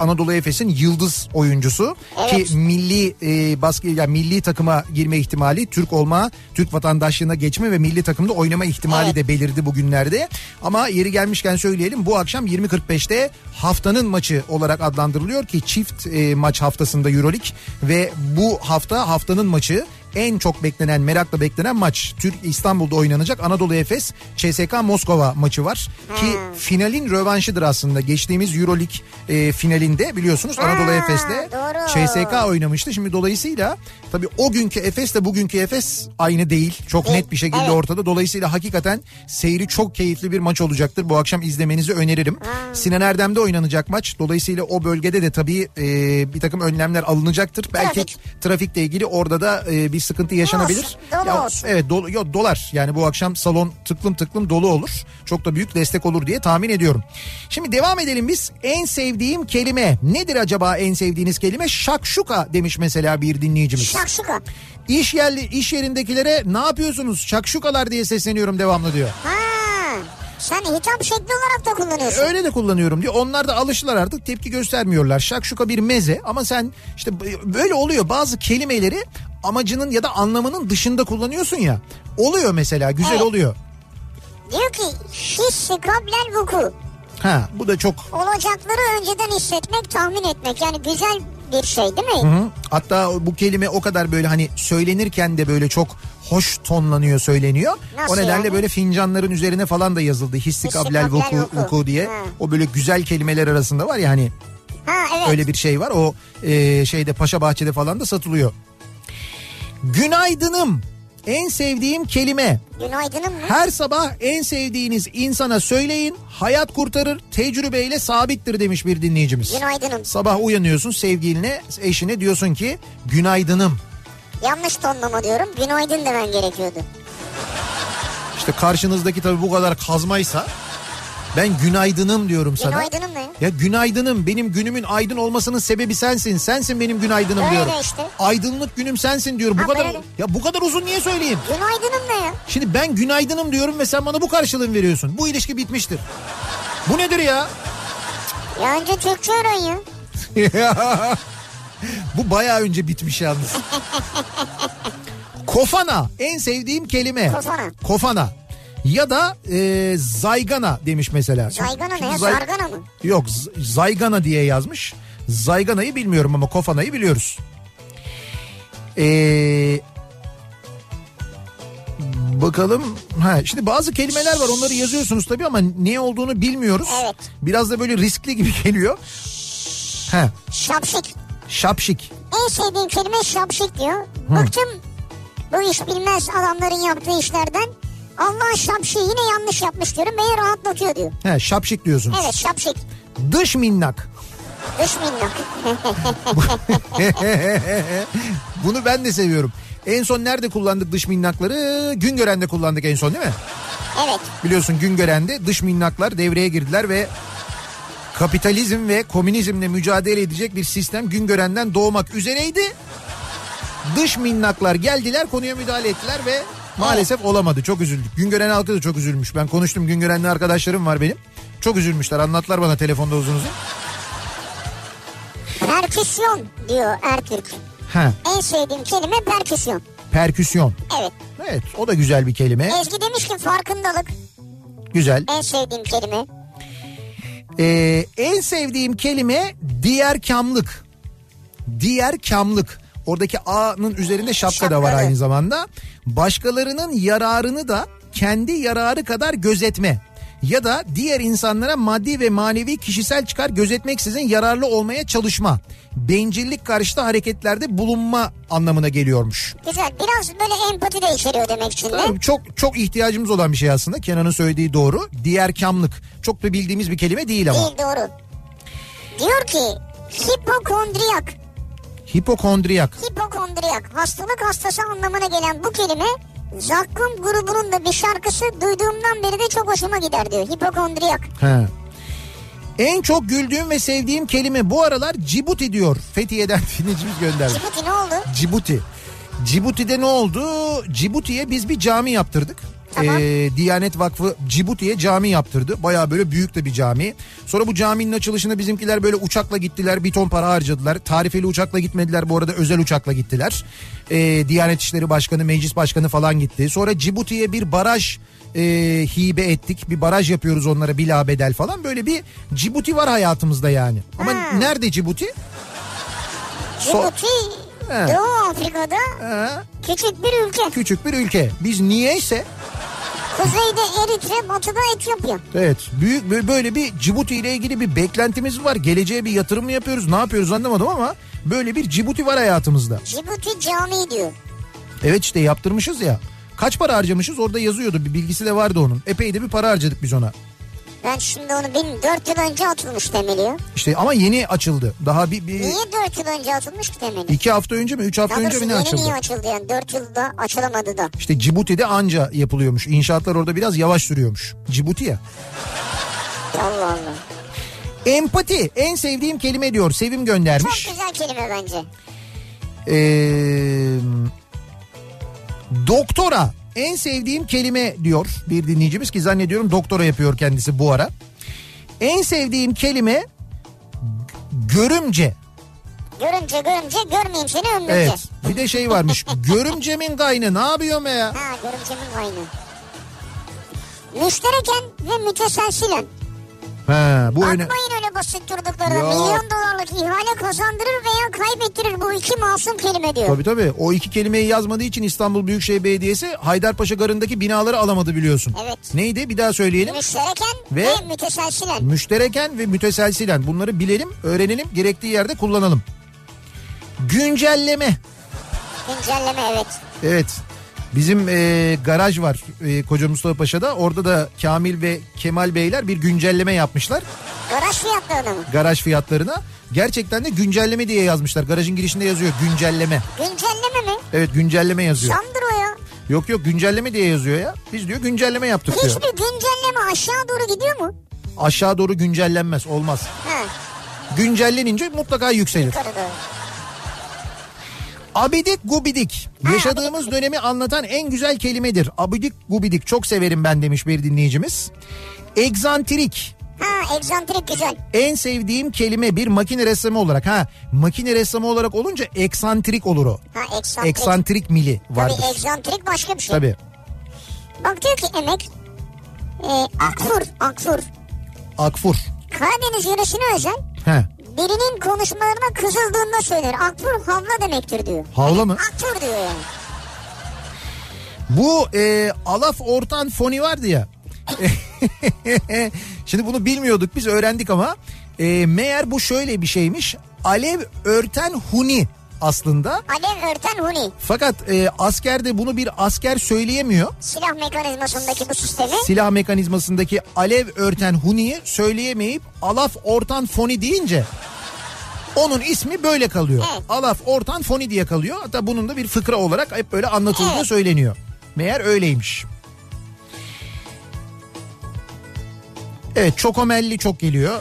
A: Anadolu Efes'in yıldız oyuncusu
B: Evet.
A: ki milli e, baskı yani milli takıma girme ihtimali, Türk olma, Türk vatandaşlığına geçme ve milli takımda oynama ihtimali
B: Evet.
A: de belirdi bugünlerde. Ama yeri gelmişken söyleyelim bu akşam 20.45'te haftanın maçı olarak adlandırılıyor ki çift e, maç haftasında EuroLeague ve bu hafta haftanın maçı en çok beklenen, merakla beklenen maç Türk İstanbul'da oynanacak Anadolu Efes CSK Moskova maçı var ki
B: Hmm.
A: finalin rövanşıdır aslında. Geçtiğimiz EuroLeague e, finalinde biliyorsunuz Anadolu
B: Ha,
A: Efes'te
B: doğru.
A: CSK oynamıştı. Şimdi dolayısıyla tabii o günkü Efes'le bugünkü Efes aynı değil. Çok net bir şekilde
B: evet.
A: ortada. Dolayısıyla hakikaten seyri çok keyifli bir maç olacaktır. Bu akşam izlemenizi öneririm. Sinan Erdem'de oynanacak maç. Dolayısıyla o bölgede de tabii e, bir takım önlemler alınacaktır. Belki
B: Trafik.
A: trafikle ilgili orada da e, bir sıkıntı yaşanabilir.
B: Olsun, dolu olsun.
A: Evet dolu, yo, dolar yani bu akşam salon tıklım tıklım dolu olur. Çok da büyük destek olur diye tahmin ediyorum. Şimdi devam edelim biz. En sevdiğim kelime nedir acaba en sevdiğiniz kelime? Şakşuka demiş mesela bir dinleyicimiz.
B: Şakşuka.
A: İş yerli iş yerindekilere ne yapıyorsunuz şakşukalar diye sesleniyorum devamlı diyor.
B: Ha. Sen hitap şekli olarak da kullanıyorsun.
A: Öyle de kullanıyorum diyor. Onlar da alıştılar artık tepki göstermiyorlar. Şakşuka bir meze ama sen işte böyle oluyor bazı kelimeleri amacının ya da anlamının dışında kullanıyorsun ya. Oluyor mesela güzel
B: Evet.
A: oluyor.
B: Diyor ki hissi kablel vuku.
A: Ha bu da çok
B: Olacakları önceden hissetmek, tahmin etmek. Yani güzel bir şey değil mi?
A: Hı. Hatta bu kelime o kadar böyle hani söylenirken de böyle çok hoş tonlanıyor söyleniyor.
B: Nasıl
A: o nedenle
B: yani?
A: böyle fincanların üzerine falan da yazıldı. Hissi
B: Hissi
A: kablel
B: kablel
A: vuku,
B: vuku.
A: vuku diye.
B: Hı.
A: O böyle güzel kelimeler arasında var ya hani
B: Ha evet.
A: öyle bir şey var. O e, şeyde Paşa Bahçe'de falan da satılıyor. Günaydınım. En sevdiğim kelime.
B: Günaydınım mı?
A: Her sabah en sevdiğiniz insana söyleyin. Hayat kurtarır, tecrübeyle sabittir demiş bir dinleyicimiz.
B: Günaydınım.
A: Sabah uyanıyorsun sevgiline, eşine diyorsun ki günaydınım.
B: Yanlış tonlama diyorum. Günaydın demen gerekiyordu.
A: İşte karşınızdaki tabii bu kadar kazmaysa ben günaydınım diyorum sana.
B: Günaydınım ne?
A: Ya günaydınım benim günümün aydın olmasının sebebi sensin. Sensin benim günaydınım
B: Öyle
A: diyorum.
B: işte.
A: Aydınlık günüm sensin diyorum. Bu
B: Ha,
A: kadar
B: böyle.
A: ya bu kadar uzun niye söyleyeyim?
B: Günaydınım ne ya?
A: Şimdi ben günaydınım diyorum ve sen bana bu karşılığını veriyorsun. Bu ilişki bitmiştir. Bu nedir ya?
B: Ya önce Türkçe öğren ya.
A: bu bayağı önce bitmiş yalnız. Kofana en sevdiğim kelime.
B: Kofana.
A: Kofana. Ya da e, zaygana demiş mesela.
B: Zaygana ne
A: Zay-
B: ya? Zargana mı?
A: Yok z- zaygana diye yazmış. Zayganayı bilmiyorum ama kofanayı biliyoruz. Ee, bakalım. Ha, şimdi bazı kelimeler var onları yazıyorsunuz tabii ama ne olduğunu bilmiyoruz.
B: Evet.
A: Biraz da böyle riskli gibi geliyor. Ha,
B: Şapşik.
A: şapşik.
B: En sevdiğim kelime şapşik diyor. Bıktım bu iş bilmez adamların yaptığı işlerden. Allah şapşiği yine yanlış yapmış diyorum. Beni rahatlatıyor diyor.
A: Ha, şapşik diyorsunuz.
B: Evet şapşik.
A: Dış minnak.
B: Dış minnak.
A: Bunu ben de seviyorum. En son nerede kullandık dış minnakları? Güngören'de kullandık en son değil mi?
B: evet.
A: Biliyorsun Güngören'de dış minnaklar devreye girdiler ve kapitalizm ve komünizmle mücadele edecek bir sistem Güngören'den doğmak üzereydi. Dış minnaklar geldiler konuya müdahale ettiler ve maalesef olamadı. Çok üzüldük. Güngören halkı da çok üzülmüş. Ben konuştum Güngörenli arkadaşlarım var benim. Çok üzülmüşler anlattılar bana telefonda uzun uzun.
B: Perküsyon diyor Ertürk.
A: Ha,
B: En sevdiğim kelime perküsyon.
A: perküsyon.
B: Evet.
A: Evet o da güzel bir kelime.
B: Ezgi demiş ki farkındalık
A: Güzel.
B: en sevdiğim kelime.
A: Ee, en sevdiğim kelime diğer kamlık. Diğer kamlık. Oradaki A'nın üzerinde şapka da var
B: Şapka, evet.
A: aynı zamanda. Başkalarının yararını da kendi yararı kadar gözetme. Ya da diğer insanlara maddi ve manevi kişisel çıkar gözetmeksizin yararlı olmaya çalışma. Bencillik karşıtı hareketlerde bulunma anlamına geliyormuş.
B: Güzel. Biraz böyle empati de içeriyor demek için de.
A: Tabii çok çok ihtiyacımız olan bir şey aslında. Kenan'ın söylediği doğru. Diğer kamlık. Çok da bildiğimiz bir kelime değil ama.
B: Değil doğru. Diyor ki hipokondriyak.
A: Ee, Hipokondriyak.
B: Hipokondriyak hastalık hastası anlamına gelen bu kelime Zakkum grubunun da bir şarkısı duyduğumdan beri de çok hoşuma gider diyor. Hipokondriyak.
A: He. En çok güldüğüm ve sevdiğim kelime bu aralar Cibuti diyor. Fethiye'den dinleyicimiz gönderdi.
B: Cibuti ne oldu?
A: Cibuti. Cibuti'de ne oldu? Cibuti'ye biz bir cami yaptırdık.
B: Tamam.
A: Ee, Diyanet Vakfı Cibuti'ye cami yaptırdı. Baya böyle büyük de bir cami. Sonra bu caminin açılışına bizimkiler böyle uçakla gittiler. Bir ton para harcadılar. Tarifeli uçakla gitmediler. Bu arada özel uçakla gittiler. Ee, Diyanet İşleri Başkanı, Meclis Başkanı falan gitti. Sonra Cibuti'ye bir baraj e, hibe ettik. Bir baraj yapıyoruz onlara bila bedel falan. Böyle bir Cibuti var hayatımızda yani. Ama
B: Ha.
A: nerede Cibuti? So-
B: Cibuti
A: He.
B: Doğu Afrika'da
A: Ha.
B: küçük bir ülke.
A: küçük bir ülke. Biz niyeyse
B: Kuzeyde Eritre, batıda Etiyopya.
A: evet büyük bö- böyle bir Cibuti ile ilgili bir beklentimiz var. Geleceğe bir yatırım mı yapıyoruz ne yapıyoruz anlamadım ama böyle bir Cibuti var hayatımızda.
B: Cibuti Camii diyor.
A: Evet işte yaptırmışız ya. Kaç para harcamışız orada yazıyordu bir bilgisi de vardı onun. Epey de bir para harcadık biz ona.
B: Ben şimdi onu bilmiyorum. 4 yıl önce atılmış demeli ya.
A: İşte ama yeni açıldı. Daha bir, bir
B: Niye 4 yıl önce atılmış ki demeli?
A: iki hafta önce mi üç hafta
B: Daha
A: önce
B: doğrusu
A: mi ne
B: yeni niye
A: açıldı?
B: açıldı yani? 4 yılda açılamadı da.
A: İşte Cibuti'de anca yapılıyormuş. İnşaatlar orada biraz yavaş sürüyormuş. Cibuti ya.
B: Allah Allah.
A: Empati en sevdiğim kelime diyor. Sevim
B: Çok
A: göndermiş.
B: güzel kelime bence.
A: Ee, doktora en sevdiğim kelime diyor bir dinleyicimiz ki zannediyorum doktora yapıyor kendisi bu ara. En sevdiğim kelime görümce.
B: Görünce görünce görmeyeyim seni ömrümce.
A: Evet. Bir de şey varmış. görümcemin kaynı ne yapıyor be ya?
B: Ha görümcemin aynı. Müştereken ve müteselsilen.
A: Ha, bu öne...
B: Bakmayın öyle basit durduklarına.
A: Ya.
B: Milyon dolarlık ihale kazandırır veya kaybettirir bu iki masum kelime diyor.
A: Tabii tabii. O iki kelimeyi yazmadığı için İstanbul Büyükşehir Belediyesi Haydarpaşa Garı'ndaki binaları alamadı biliyorsun.
B: Evet.
A: Neydi? Bir daha söyleyelim.
B: Müştereken ve,
A: Ve-
B: müteselsilen.
A: Müştereken ve müteselsilen bunları bilelim, öğrenelim, gerektiği yerde kullanalım. Güncelleme.
B: Güncelleme evet.
A: Evet. Bizim e, garaj var e, Koca Mustafa Paşa'da. Orada da Kamil ve Kemal Beyler bir güncelleme yapmışlar
B: Garaj fiyatlarını mı?
A: garaj fiyatlarına. Gerçekten de güncelleme diye yazmışlar. Garajın girişinde yazıyor güncelleme.
B: Güncelleme mi?
A: Evet güncelleme yazıyor.
B: Şamdır o ya.
A: Yok yok güncelleme diye yazıyor ya. Biz diyor güncelleme yaptık diyor.
B: Hiçbir güncelleme aşağı doğru gidiyor mu?
A: Aşağı doğru güncellenmez olmaz.
B: Ha
A: Güncellenince mutlaka yükselir.
B: yukarı doğru.
A: Abidik gubidik. Yaşadığımız dönemi anlatan en güzel kelimedir. Abidik gubidik çok severim ben demiş bir dinleyicimiz. Egzantrik.
B: Ha egzantrik güzel.
A: En sevdiğim kelime bir makine ressamı olarak. Ha makine ressamı olarak olunca eksantrik olur o.
B: Ha eksantrik.
A: Eksantrik mili vardır.
B: Tabii egzantrik başka bir şey.
A: Tabii.
B: Bak diyor ki emek. E, akfur, akfur.
A: Akfur.
B: Karadeniz yöresine özel
A: He.
B: birinin konuşmalarına kızıldığında söylenir. Akfur havla demektir diyor.
A: Havla mı?
B: Akfur diyor yani.
A: Bu e, Alaf Ortan foni vardı ya. Şimdi bunu bilmiyorduk biz öğrendik ama e, meğer bu şöyle bir şeymiş. Alev örten huni aslında.
B: Alev örten huni.
A: Fakat e, askerde bunu bir asker söyleyemiyor.
B: Silah mekanizmasındaki bu sistemi.
A: Silah mekanizmasındaki alev örten huniyi söyleyemeyip alaf ortan foni deyince onun ismi böyle kalıyor.
B: Evet.
A: Alaf ortan foni diye kalıyor. Hatta bunun da bir fıkra olarak hep böyle anlatıldığı
B: Evet.
A: söyleniyor. Meğer öyleymiş. Evet çokomelli çok geliyor.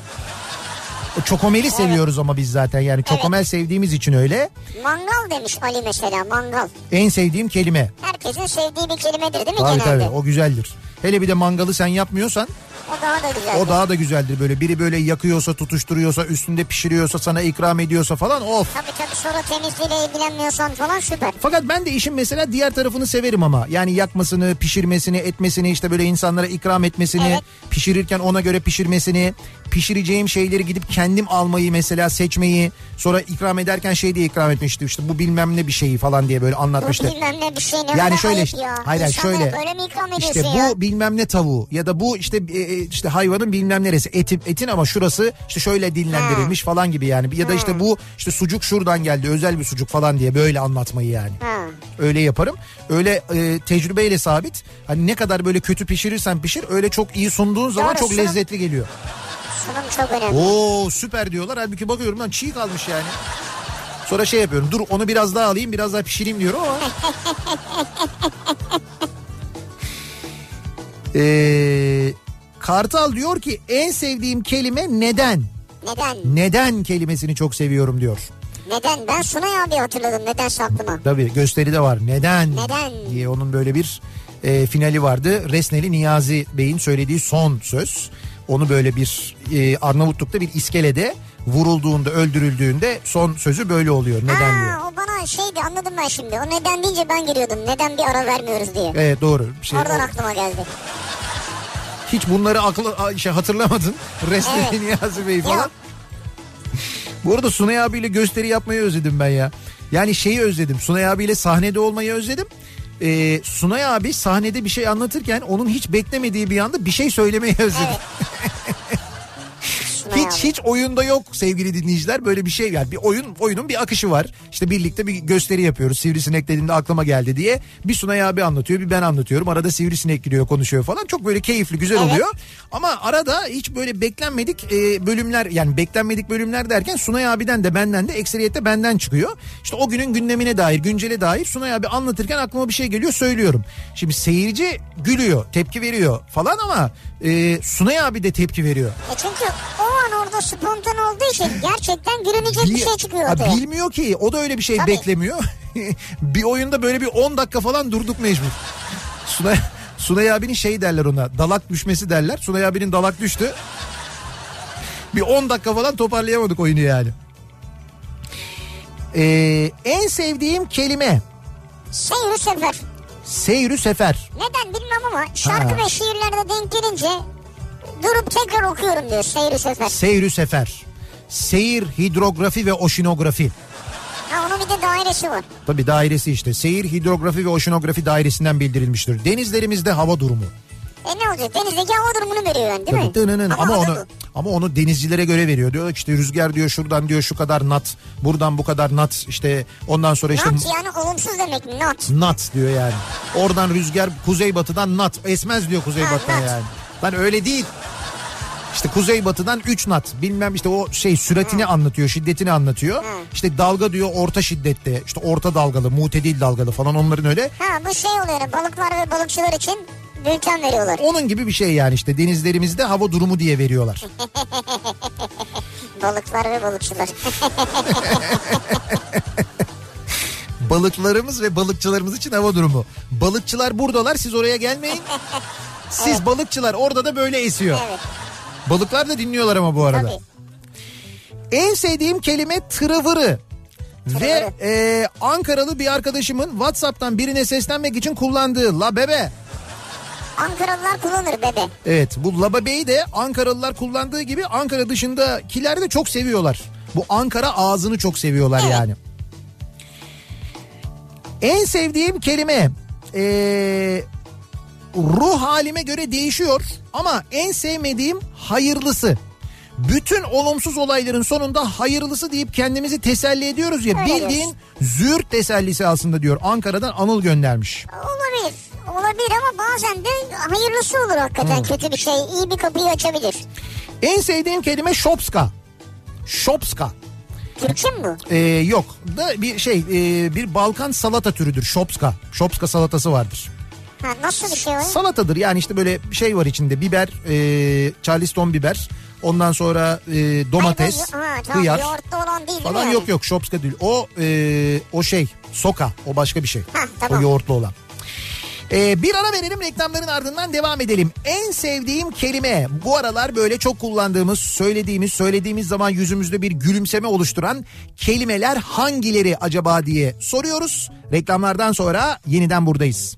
A: O Çokomeli seviyoruz ama biz zaten yani çokomel sevdiğimiz için öyle.
B: Mangal demiş Ali mesela mangal.
A: En sevdiğim kelime.
B: Herkesin sevdiği bir kelimedir değil mi
A: Tabii
B: genelde?
A: tabii o güzeldir. Hele bir de mangalı sen yapmıyorsan
B: O daha da güzel.
A: o daha da güzeldir böyle. Biri böyle yakıyorsa, tutuşturuyorsa, üstünde pişiriyorsa, sana ikram ediyorsa falan of.
B: Tabii tabii sonra temizliğiyle ilgilenmiyorsan falan süper.
A: Fakat ben de işin mesela diğer tarafını severim ama. Yani yakmasını, pişirmesini, etmesini, işte böyle insanlara ikram etmesini,
B: Evet.
A: pişirirken ona göre pişirmesini, pişireceğim şeyleri gidip kendim almayı mesela seçmeyi, sonra ikram ederken şey diye ikram etmişti işte bu bilmem ne bir şeyi falan diye böyle
B: Bu
A: anlatmıştı.
B: bilmem ne bir şey ne kadar
A: Yani şöyle
B: ayıp
A: işte,
B: ya.
A: hayır hayır
B: İnsanlara
A: şöyle.
B: Böyle mi ikram
A: İşte
B: ediyorsun
A: bu
B: ya?
A: bilmem ne tavuğu ya da bu işte e, e, işte hayvanın bilmem neresi etin etin ama şurası işte şöyle dinlendirilmiş falan gibi yani ya da işte bu işte sucuk şuradan geldi özel bir sucuk falan diye böyle anlatmayı yani.
B: Ha.
A: Öyle yaparım. Öyle e, tecrübeyle sabit. Hani ne kadar böyle kötü pişirirsen pişir öyle çok iyi sunduğun zaman
B: Doğru,
A: çok
B: sunum-
A: lezzetli geliyor.
B: Sunum çok önemli.
A: Oo süper diyorlar. Halbuki bakıyorum lan çiğ kalmış yani. Sonra şey yapıyorum. Dur onu biraz daha alayım biraz daha pişireyim diyorum ama. Ee, Kartal diyor ki en sevdiğim kelime neden?
B: Neden?
A: Neden kelimesini çok seviyorum diyor.
B: Neden? Ben Sunay abi hatırladım. Nedense aklıma.
A: Tabii gösteride var. Neden?
B: Neden?
A: Diye onun böyle bir e, finali vardı. Resneli Niyazi Bey'in söylediği son söz. Onu böyle bir e, Arnavutluk'ta bir iskelede vurulduğunda öldürüldüğünde son sözü böyle oluyor. Neden diye.
B: Ha, o bana şeydi anladım ben şimdi. O neden deyince ben giriyordum. Neden bir ara vermiyoruz diye.
A: Evet doğru. Şey,
B: Oradan aklıma geldi.
A: hiç bunları aklı, a- şey, hatırlamadın. Resneli
B: Evet.
A: Niyazi Bey falan.
B: Yok.
A: Bu arada Sunay abiyle gösteri yapmayı özledim ben ya. Yani şeyi özledim. Sunay abiyle sahnede olmayı özledim. Ee, Sunay abi sahnede bir şey anlatırken onun hiç beklemediği bir anda bir şey söylemeyi özledim.
B: Evet. Sunay
A: Hiç şey-
B: abi.
A: hiç oyunda yok sevgili dinleyiciler böyle bir şey yani bir oyun oyunun bir akışı var. İşte birlikte bir gösteri yapıyoruz. Sivrisinek dediğimde aklıma geldi diye. Bir Sunay abi anlatıyor, bir ben anlatıyorum. Arada sivrisinek giriyor, konuşuyor falan. Çok böyle keyifli, güzel
B: Evet.
A: oluyor. Ama arada hiç böyle beklenmedik e, bölümler yani beklenmedik bölümler derken Sunay abiden de benden de ekseriyette benden çıkıyor. İşte o günün gündemine dair, güncele dair Sunay abi anlatırken aklıma bir şey geliyor söylüyorum. Şimdi seyirci gülüyor, tepki veriyor falan ama e, Sunay abi de tepki veriyor.
B: E çünkü o an orada spontan olduğu için gerçekten gülünecek bir
A: Bil-
B: şey çıkıyor
A: Ha,
B: ortaya.
A: Bilmiyor ki o da öyle bir şey
B: Tabii.
A: beklemiyor. bir oyunda böyle bir 10 dakika falan durduk mecbur. Sunay, Sunay abinin şey derler ona dalak düşmesi derler. Sunay abinin dalak düştü. Bir 10 dakika falan toparlayamadık oyunu yani. Ee, en sevdiğim kelime
B: Seyir sefer.
A: seyrü sefer.
B: Neden bilmem ama şarkı
A: Ha.
B: ve şiirlerde denk gelince durup tekrar okuyorum diyor seyir sefer.
A: Seyrü sefer. Seyir, hidrografi ve oşinografi.
B: Ha onun bir de dairesi var.
A: Tabi dairesi işte. Seyir, hidrografi ve oşinografi dairesinden bildirilmiştir. Denizlerimizde hava durumu.
B: E ne olacak denizdeki hava durumunu veriyor yani değil
A: Tabii,
B: mi?
A: dınının. Ama,
B: adı
A: onu ama onu denizcilere göre veriyor. Diyor işte rüzgar diyor şuradan diyor şu kadar nat, buradan bu kadar nat işte ondan sonra
B: bu.
A: işte
B: Not yani olumsuz demek mi not?
A: nat diyor yani. Oradan rüzgar kuzeybatıdan nat esmez diyor kuzeybatıdan
B: Ha, nat.
A: yani. Lan öyle değil. İşte kuzeybatıdan 3 nat bilmem işte o şey süratini anlatıyor şiddetini anlatıyor. İşte dalga diyor orta şiddette işte orta dalgalı mutedil dalgalı falan onların öyle
B: Ha bu şey oluyor yani, balıklar ve balıkçılar için bülten veriyorlar.
A: Onun gibi bir şey yani işte denizlerimizde hava durumu diye veriyorlar.
B: Balıklar ve balıkçılar.
A: Balıklarımız ve balıkçılarımız için hava durumu. Balıkçılar buradalar siz oraya gelmeyin. Siz balıkçılar orada da böyle esiyor.
B: evet
A: Balıklar da dinliyorlar ama bu arada.
B: tabii.
A: En sevdiğim kelime tırıvırı. Ve
B: Tırıvırı.
A: e, Ankaralı bir arkadaşımın Whatsapp'tan birine seslenmek için kullandığı la bebe.
B: Ankaralılar kullanır bebe.
A: Evet bu lababeyi de Ankaralılar kullandığı gibi Ankara dışındakiler de çok seviyorlar. Bu Ankara ağzını çok seviyorlar
B: Evet.
A: yani. En sevdiğim kelime ee, ruh halime göre değişiyor ama en sevmediğim hayırlısı. Bütün olumsuz olayların sonunda hayırlısı deyip kendimizi teselli ediyoruz ya
B: Öyle
A: bildiğin
B: diyorsun.
A: züğürt tesellisi aslında diyor Ankara'dan Anıl göndermiş.
B: Olabilir. Olabilir ama bazen de hayırlısı olur hakikaten. Kötü bir şey iyi bir kapıyı açabilir.
A: En sevdiğim kelime şopska. Şopska.
B: Türkçe mi bu?
A: Ee, yok da bir şey e, bir Balkan salata türüdür şopska. Şopska salatası vardır.
B: Ha, nasıl bir şey o? ya?
A: Salatadır yani işte böyle şey var içinde biber, e, charleston biber, ondan sonra e, domates,
B: Hayır, bu- ha, tamam,
A: hıyar
B: Yoğurtlu olan değil
A: falan
B: değil mi?
A: yok yok şopska değil. O e, o şey soka o başka bir şey.
B: Ha, tamam.
A: O yoğurtlu olan. E, bir ara verelim reklamların ardından devam edelim. En sevdiğim kelime bu aralar böyle çok kullandığımız söylediğimiz söylediğimiz zaman yüzümüzde bir gülümseme oluşturan kelimeler hangileri acaba diye soruyoruz. Reklamlardan sonra yeniden buradayız.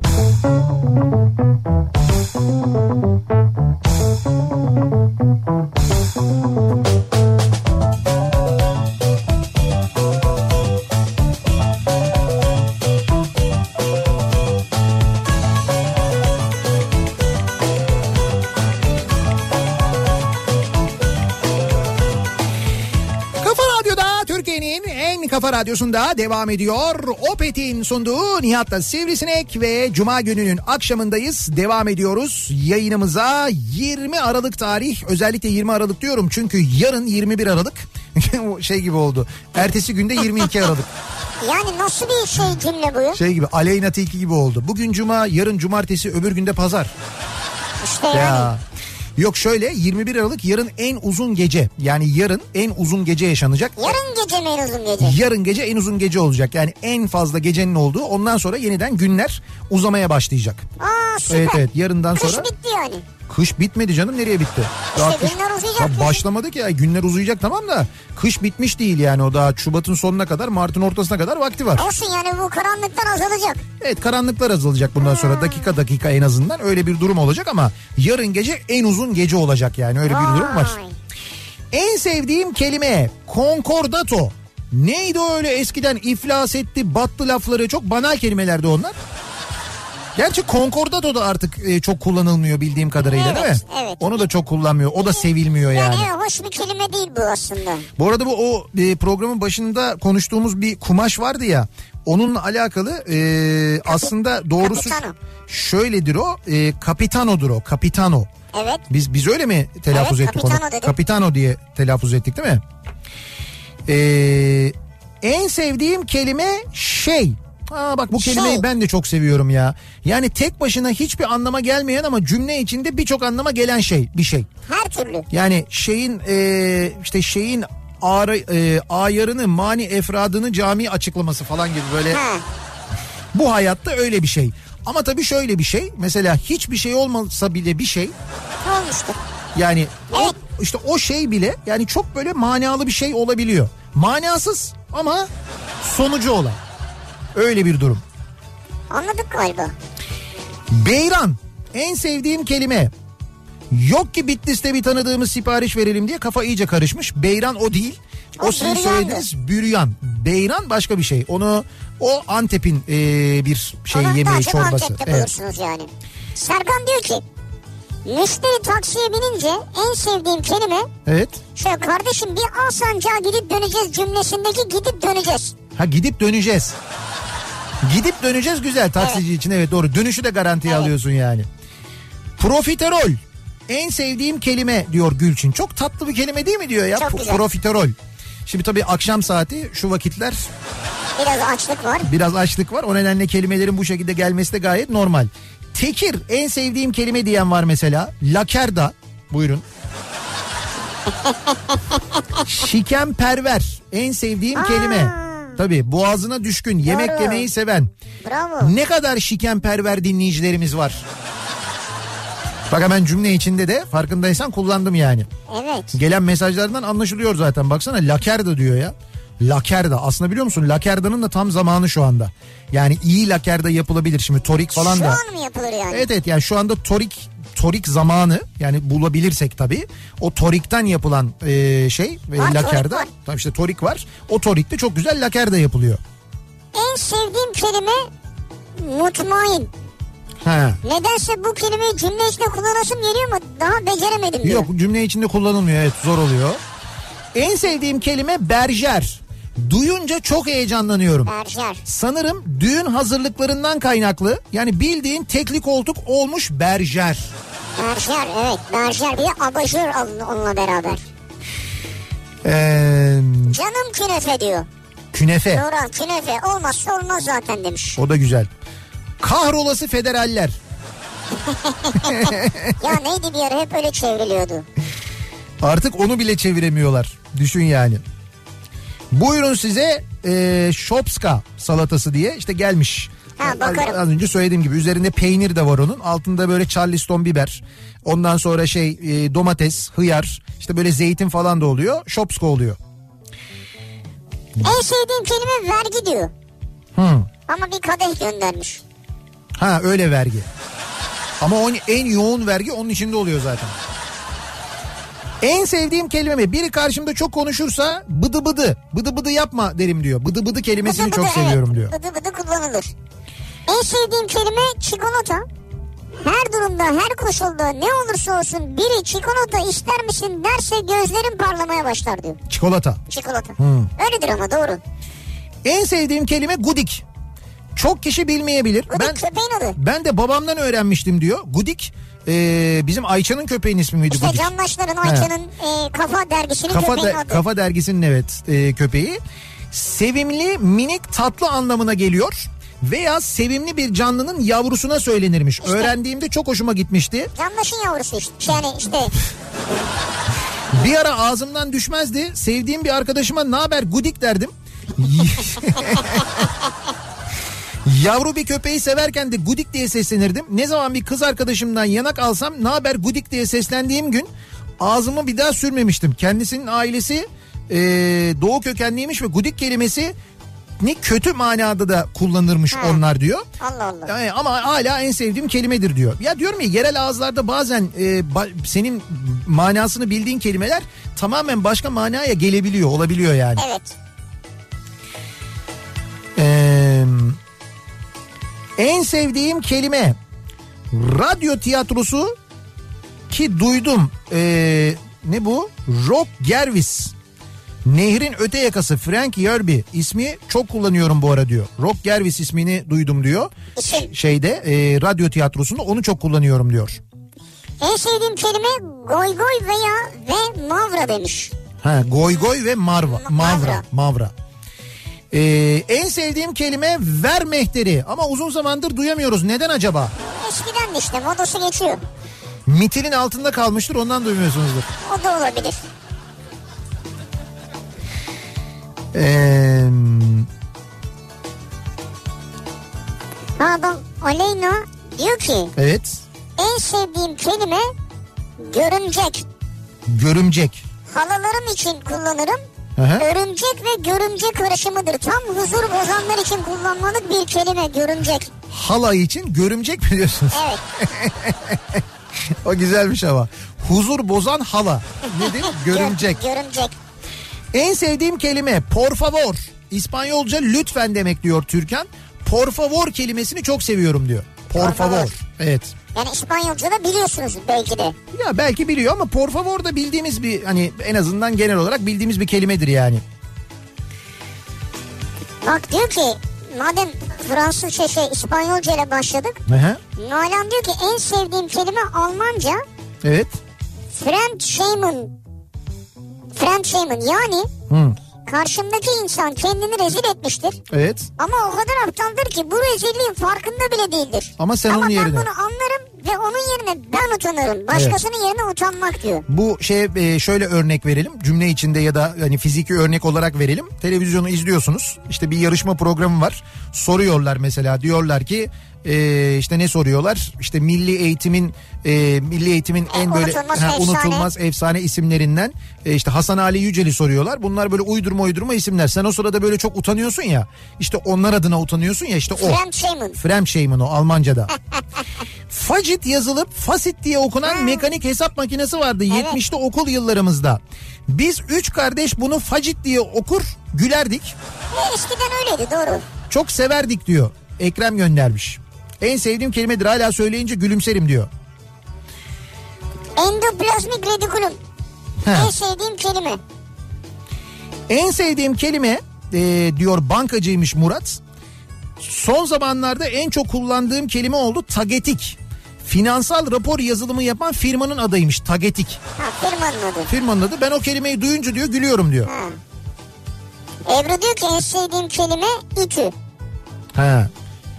A: Kafa Radyo'da Türkiye'nin en kafa radyosunda devam ediyor. Opet'in sunduğu Nihat'la Sivrisinek ve Cuma gününün akşamındayız. Devam ediyoruz yayınımıza 20 Aralık tarih özellikle 20 Aralık diyorum çünkü yarın 21 Aralık O şey gibi oldu. Ertesi günde 22 Aralık
B: Yani nasıl bir şey cümle bu? ya?
A: şey gibi Aleyna Tilki gibi oldu. Bugün Cuma yarın Cumartesi öbür günde Pazar.
B: İşte yani.
A: Ya. Yok şöyle 21 Aralık yarın en uzun gece yani yarın en uzun gece yaşanacak.
B: Yarın gece mi en uzun gece?
A: Yarın gece en uzun gece olacak. Yani en fazla gecenin olduğu. Ondan sonra yeniden günler uzamaya başlayacak.
B: Aa süper.
A: Evet evet yarından
B: Kış
A: sonra
B: bitti yani.
A: kış bitmedi canım nereye bitti? Daha kış-
B: günler uzayacak
A: Ya
B: diyorsun.
A: başlamadı ki ya günler uzayacak tamam da kış bitmiş değil yani o daha Şubat'ın sonuna kadar Mart'ın ortasına kadar vakti var.
B: Olsun yani bu karanlıktan azalacak.
A: Evet karanlıklar azalacak bundan
B: Hmm.
A: sonra dakika dakika en azından öyle bir durum olacak ama yarın gece en uzun gece olacak yani öyle bir durum var.
B: Vay.
A: En sevdiğim kelime konkordato. Neydi öyle eskiden iflas etti, battı lafları çok banal kelimelerdi onlar. Gerçi konkordato da artık e, çok kullanılmıyor bildiğim kadarıyla değil mi?
B: Evet, evet.
A: Onu da çok kullanmıyor. O da sevilmiyor yani.
B: Yani, evet, hoş bir kelime değil bu aslında.
A: Bu arada bu o e, programın başında konuştuğumuz bir kumaş vardı ya. Onunla alakalı e, aslında doğrusu
B: Capitano.
A: şöyledir o. E, kapitanodur o. Kapitano.
B: Evet.
A: Biz biz öyle mi telaffuz
B: Evet,
A: ettik
B: Capitano
A: onu?
B: dedim.
A: Capitano diye telaffuz ettik değil mi? Ee, en sevdiğim kelime şey. Aa bak bu kelimeyi
B: Şey.
A: ben de çok seviyorum ya. Yani tek başına hiçbir anlama gelmeyen ama cümle içinde birçok anlama gelen şey bir şey.
B: Her türlü.
A: Yani şeyin ee, işte şeyin ağrı, ee, ayarını mani efradını cami açıklaması falan gibi böyle.
B: Ha.
A: Bu hayatta öyle bir şey. Ama tabii şöyle bir şey. Mesela hiçbir şey olmasa bile bir şey
B: Olmuştu.
A: yani o,
B: Evet.
A: işte o şey bile yani çok böyle manalı bir şey olabiliyor. Manasız ama sonucu olan. Öyle bir durum.
B: Anladık galiba.
A: Beyran en sevdiğim kelime. Yok ki Bitlis'te bir tanıdığımız sipariş verelim diye kafa iyice karışmış. Beyran o değil. O
B: O
A: sizin
B: büryandı.
A: söylediğiniz büryan. Beyran başka bir şey. Onu o Antep'in eee, bir şey
B: Onu daha
A: yemeği
B: çok
A: çorbası.
B: ankette
A: Evet.
B: bulursunuz yani. Serkan diyor ki müşteri taksiye binince en sevdiğim kelime
A: evet.
B: şöyle kardeşim bir Alsancak'a gidip döneceğiz cümlesindeki gidip döneceğiz.
A: Ha gidip döneceğiz. Gidip döneceğiz güzel taksici için evet doğru. Dönüşü de garantiye
B: Evet.
A: alıyorsun yani. Profiterol. En sevdiğim kelime diyor Gülçin. Çok tatlı bir kelime değil mi diyor ya
B: Çok
A: pro-
B: güzel.
A: profiterol. Şimdi tabii akşam saati şu vakitler
B: Biraz açlık var.
A: biraz açlık var. O nedenle kelimelerin bu şekilde gelmesi de gayet normal. Tekir en sevdiğim kelime diyen var mesela. Lakerda buyurun. Şikemperver en sevdiğim kelime. Tabii boğazına düşkün yemek
B: Doğru.
A: yemeyi seven.
B: Bravo.
A: Ne kadar şikemperver dinleyicilerimiz var. Bak hemen cümle içinde de farkındaysan kullandım yani.
B: Evet.
A: Gelen mesajlardan anlaşılıyor zaten baksana lakerda diyor ya. Lakerda aslında biliyor musun lakerdanın da tam zamanı şu anda. Yani iyi lakerda yapılabilir şimdi torik falan
B: Şu
A: da.
B: an mı yapılır yani?
A: Evet evet yani şu anda torik torik zamanı yani bulabilirsek tabii o torikten yapılan e, şey e,
B: Var, torik
A: lakerda.
B: var.
A: Tabii işte torik var. O torikte çok güzel lakerda yapılıyor.
B: En sevdiğim kelime mutmain.
A: He.
B: Nedense bu kelimeyi cümle içinde kullanasım geliyor ama daha beceremedim diyor.
A: Yok cümle içinde kullanılmıyor evet zor oluyor. En sevdiğim kelime berjer. Duyunca çok heyecanlanıyorum.
B: Berjer.
A: Sanırım düğün hazırlıklarından kaynaklı yani bildiğin tekli koltuk olmuş berjer.
B: Berjer evet. Berjer bir de abajur alın onunla beraber.
A: Ee,
B: Canım künefe diyor.
A: künefe
B: Doğru künefe olmazsa olmaz zaten demiş.
A: o da güzel. Kahrolası federaller.
B: Ya neydi bir ara hep öyle çevriliyordu.
A: Artık onu bile çeviremiyorlar. Düşün yani. Buyurun size e, Shopska salatası diye işte gelmiş.
B: Ha, bakarım.
A: Az önce söylediğim gibi üzerinde peynir de var onun. Altında böyle charleston biber. Ondan sonra şey e, domates, hıyar, işte böyle zeytin falan da oluyor. Shopska oluyor.
B: En sevdiğim kelime vergi diyor.
A: Hı.
B: Ama bir kadeh göndermiş.
A: Ha öyle vergi. Ama on, en yoğun vergi onun içinde oluyor zaten. En sevdiğim kelime mi? Biri karşımda çok konuşursa bıdı bıdı. Bıdı bıdı yapma derim diyor. Bıdı bıdı kelimesini
B: Bıdı
A: çok
B: bıdı,
A: seviyorum diyor.
B: evet. Bıdı bıdı kullanılır. En sevdiğim kelime çikolata. Her durumda, her koşulda ne olursa olsun biri çikolata ister misin derse gözlerim parlamaya başlar diyor.
A: Çikolata.
B: Çikolata.
A: Hmm.
B: Öyledir ama doğru.
A: En sevdiğim kelime gudik. Çok kişi bilmeyebilir.
B: Bu da
A: ben
B: köpeğin adı.
A: ben de babamdan öğrenmiştim diyor. Gudik ee, bizim Ayça'nın köpeğin ismi miydi
B: İşte
A: gudik?
B: Canlaşların Ayça'nın e, kafa dergisinin
A: Kafa,
B: köpeğin
A: de-
B: adı.
A: kafa dergisinin evet e, köpeği. Sevimli, minik, tatlı anlamına geliyor. Veya sevimli bir canlının yavrusuna söylenirmiş. Öğrendiğimde çok hoşuma gitmişti.
B: Canlaşın yavrusu işte. Yani işte
A: Bir ara ağzımdan düşmezdi. Sevdiğim bir arkadaşıma ne haber gudik derdim. Yavru bir köpeği severken de gudik diye seslenirdim. Ne zaman bir kız arkadaşımdan yanak alsam ne haber gudik diye seslendiğim gün ağzımı bir daha sürmemiştim. Kendisinin ailesi eee, doğu kökenliymiş ve gudik kelimesi ni kötü manada da kullanırmış onlar diyor.
B: Allah Allah.
A: Yani ama hala en sevdiğim kelimedir diyor. Ya diyorum ya yerel ağızlarda bazen e, ba- senin manasını bildiğin kelimeler tamamen başka manaya gelebiliyor, olabiliyor yani.
B: Evet.
A: Ee, en sevdiğim kelime radyo tiyatrosu ki duydum. Ee, ne bu? Rock Gervis. Nehrin öte yakası Frank Yerby ismi çok kullanıyorum bu ara diyor. Rock Gervis ismini duydum diyor.
B: İsim.
A: Şeyde e, radyo tiyatrosunda onu çok kullanıyorum diyor.
B: En sevdiğim kelime goy goy veya ve mavra demiş.
A: Ha, goy goy ve marva, mavra,
B: Mavra.
A: mavra. Ee, en sevdiğim kelime ver mehteri ama uzun zamandır duyamıyoruz. Neden acaba?
B: Eskiden de işte modası geçiyor.
A: Mitilin altında kalmıştır ondan duymuyorsunuzdur.
B: O da olabilir.
A: Ee,
B: Ha bak Aleyna diyor ki
A: evet.
B: en sevdiğim kelime görümcek.
A: Görümcek.
B: Halalarım için kullanırım.
A: Aha.
B: Örümcek ve görümcek karışımıdır. Tam huzur bozanlar için kullanmalık bir kelime görümcek.
A: Halay için görümcek mi diyorsunuz?
B: Evet.
A: o güzelmiş ama. Huzur bozan hala. Nedir? Görümcek.
B: Gör- görümcek.
A: En sevdiğim kelime por favor. İspanyolca lütfen demek diyor Türkan. Por favor kelimesini çok seviyorum diyor. Por
B: Por
A: favor.
B: favor.
A: Evet.
B: Yani İspanyolca'da biliyorsunuz belki de.
A: Ya belki biliyor ama por favor da bildiğimiz bir hani en azından genel olarak bildiğimiz bir kelimedir yani.
B: Bak diyor ki madem Fransızca şey İspanyolca ile başladık.
A: Aha.
B: Nalan diyor ki en sevdiğim kelime Almanca
A: Evet.
B: Fremdschämen. Fremdschämen yani
A: Hı.
B: karşımdaki insan kendini rezil etmiştir.
A: Evet.
B: Ama o kadar aptaldır ki bu rezilliğin farkında bile değildir.
A: Ama sen onun
B: ben
A: yerine.
B: bunu anlarım ve onun yerine ben utanırım. Başkasının yerine utanmak diyor.
A: Bu şey e, şöyle örnek verelim cümle içinde ya da hani fiziki örnek olarak verelim. Televizyonu izliyorsunuz işte bir yarışma programı var soruyorlar mesela diyorlar ki e, işte ne soruyorlar işte milli eğitimin e, milli eğitimin en böyle
B: unutulmaz
A: ha,
B: efsane.
A: unutulmaz efsane isimlerinden e, işte Hasan Ali Yücel'i soruyorlar. Bunlar böyle uydurma uydurma isimler. Sen o sırada böyle çok utanıyorsun ya işte onlar adına utanıyorsun ya işte o.
B: Fremdschämen.
A: Fremdschämen o Almanca'da. Facit yazılıp fasit diye okunan mekanik hesap makinesi vardı 70'li okul yıllarımızda. Biz üç kardeş bunu facit diye okur gülerdik.
B: E, Eskiden öyleydi doğru.
A: Çok severdik diyor. Ekrem göndermiş. En sevdiğim kelimedir hala söyleyince gülümserim diyor.
B: Endoplazmik retikulum.
A: He.
B: En sevdiğim kelime.
A: En sevdiğim kelime e, diyor bankacıymış Murat. Son zamanlarda en çok kullandığım kelime oldu tagetik. Finansal rapor yazılımı yapan firmanın adıymış tagetik.
B: Ha firmanın adı.
A: Firmanın adı ben o kelimeyi duyunca diyor gülüyorum diyor.
B: Ha. Ebru diyor ki en sevdiğim kelime itü.
A: Ha.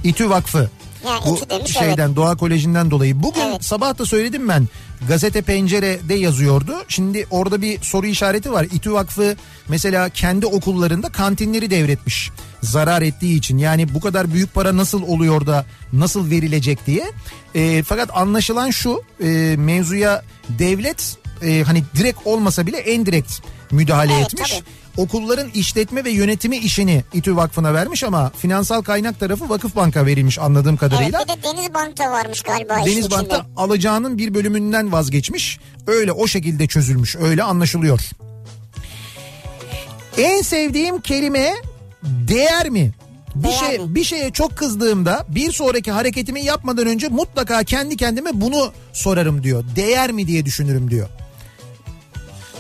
A: İTÜ Vakfı.
B: He. Yani
A: Bu
B: iki demiş
A: şeyden
B: evet.
A: Doğa Koleji'nden dolayı. Bugün
B: Evet.
A: sabah da söyledim ben gazete pencerede yazıyordu. Şimdi orada bir soru işareti var. İTÜ Vakfı mesela kendi okullarında kantinleri devretmiş. Zarar ettiği için yani bu kadar büyük para nasıl oluyor da nasıl verilecek diye. E, fakat anlaşılan şu e, mevzuya devlet e, hani direkt olmasa bile en direkt müdahale
B: Evet,
A: etmiş
B: tabii.
A: okulların işletme ve yönetimi işini İTÜ Vakfı'na vermiş ama finansal kaynak tarafı Vakıf Bank'a verilmiş anladığım
B: Evet
A: kadarıyla.
B: bir de Denizbank'ta varmış galiba işin
A: Denizbank'ta
B: içinde.
A: alacağının bir bölümünden vazgeçmiş. Öyle o şekilde çözülmüş. Öyle anlaşılıyor. En sevdiğim kelime değer mi? Bir
B: Değer
A: şey
B: mi?
A: bir şeye çok kızdığımda bir sonraki hareketimi yapmadan önce mutlaka kendi kendime bunu sorarım diyor. Değer mi diye düşünürüm diyor.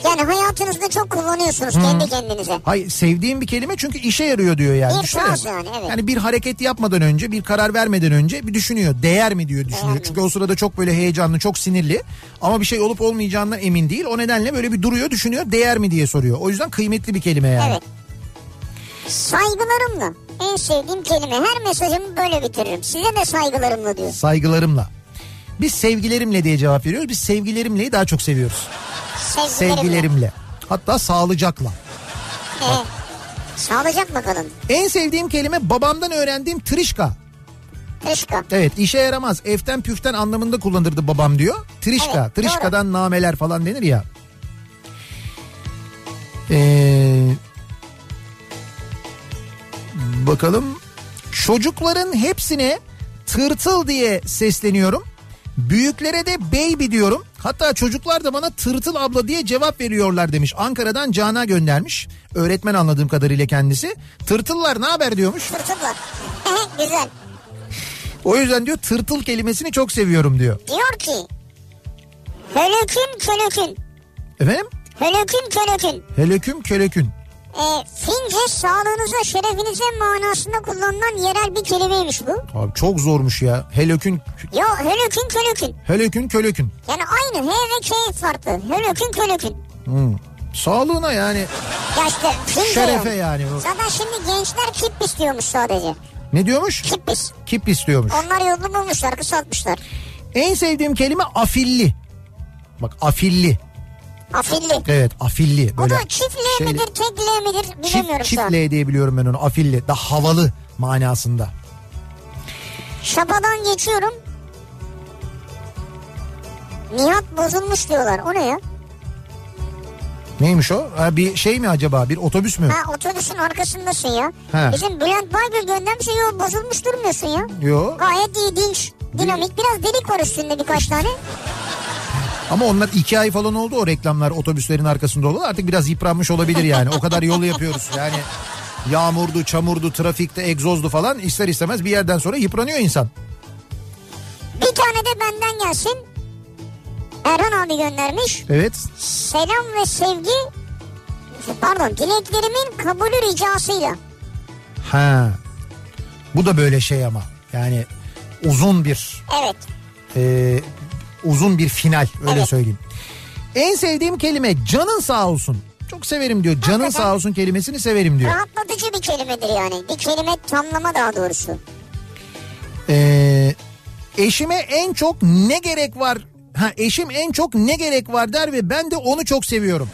B: Yani hayatınızda çok kullanıyorsunuz kendi kendinize.
A: Hayır sevdiğim bir kelime çünkü işe yarıyor diyor yani.
B: Bir
A: Düşünün.
B: tarz yani, evet.
A: bir hareket yapmadan önce bir karar vermeden önce bir düşünüyor. Değer mi diyor düşünüyor.
B: Değer mi?
A: Çünkü o sırada çok böyle heyecanlı çok sinirli ama bir şey olup olmayacağından emin değil. O nedenle böyle bir duruyor düşünüyor değer mi diye soruyor. O yüzden kıymetli bir kelime yani.
B: Evet. Saygılarımla en sevdiğim kelime. Her mesajımı böyle bitiririm. Size de saygılarımla diyor.
A: Saygılarımla. Biz sevgilerimle diye cevap veriyoruz. Biz sevgilerimleyi daha çok seviyoruz.
B: Sevgilerimle.
A: Sevgilerimle. Hatta sağlıcakla.
B: Ee, sağlayacak bakalım.
A: En sevdiğim kelime babamdan öğrendiğim trişka.
B: Işka.
A: Evet işe yaramaz. Eften püften anlamında kullanırdı babam diyor. Trişka.
B: Evet,
A: trişkadan nameler falan denir ya. Ee, bakalım. Çocukların hepsine tırtıl diye sesleniyorum. Büyüklere de baby diyorum. Hatta çocuklar da bana tırtıl abla diye cevap veriyorlar demiş. Ankara'dan Cana göndermiş. Öğretmen anladığım kadarıyla kendisi. Tırtıllar ne haber diyormuş.
B: Tırtıkla. Güzel.
A: O yüzden diyor tırtıl kelimesini çok seviyorum diyor.
B: Diyor ki Hölökün kölökün.
A: Efendim?
B: Hölökün kölökün.
A: Helöküm kölökün.
B: E, fince sağlığınıza şerefinize manasında kullanılan yerel bir kelimeymiş bu.
A: Abi çok zormuş ya. Helökün,
B: Ya hölökün kölökün.
A: helökün kölökün.
B: Yani aynı H ve K farklı. Hölökün kölökün.
A: Hmm. Sağlığına yani
B: Ya işte fince
A: şerefe yani. bu.
B: şey Zaten şimdi gençler kip istiyormuş sadece.
A: Ne diyormuş?
B: Kip is.
A: Kip istiyormuş.
B: Onlar yolunu bulmuşlar, kısaltmışlar.
A: En sevdiğim kelime afilli. Bak afilli.
B: Afilli.
A: Evet afilli.
B: Bu
A: Böyle
B: da çift L
A: şeyle-
B: midir, tek L midir
A: Çift,
B: bilemiyorum
A: çift
B: şu an.
A: L diye biliyorum ben onu afilli. Da havalı manasında.
B: Şapadan geçiyorum. Nihat bozulmuş diyorlar. O ne ya?
A: Neymiş o? Ha, bir şey mi acaba? Bir otobüs mü?
B: Ha otobüsün arkasındasın ya.
A: He.
B: Bizim Bülent Baygül göndermiş ya "Yo, bozulmuş durmuyorsun ya.
A: Yo.
B: Gayet iyi dinç. Dinamik biraz delik var üstünde birkaç tane.
A: Ama onlar iki ay falan oldu o reklamlar otobüslerin arkasında olan artık biraz yıpranmış olabilir yani. O kadar yolu yapıyoruz yani yağmurdu, çamurdu, trafikte, egzozdu falan ister istemez bir yerden sonra yıpranıyor insan.
B: Bir tane de benden gelsin. Erhan abi göndermiş.
A: Evet.
B: Selam ve sevgi pardon dileklerimin kabulü ricasıyla.
A: Ha. Bu da böyle şey ama yani uzun bir
B: Evet.
A: e, uzun bir final öyle
B: Evet.
A: söyleyeyim. En sevdiğim kelime canın sağ olsun. Çok severim diyor. Canın
B: Hakikaten.
A: sağ olsun kelimesini severim diyor.
B: Rahatlatıcı bir kelimedir yani. Bir kelime tamlama daha doğrusu.
A: Ee, eşime en çok ne gerek var? Ha eşim en çok ne gerek var der ve ben de onu çok seviyorum.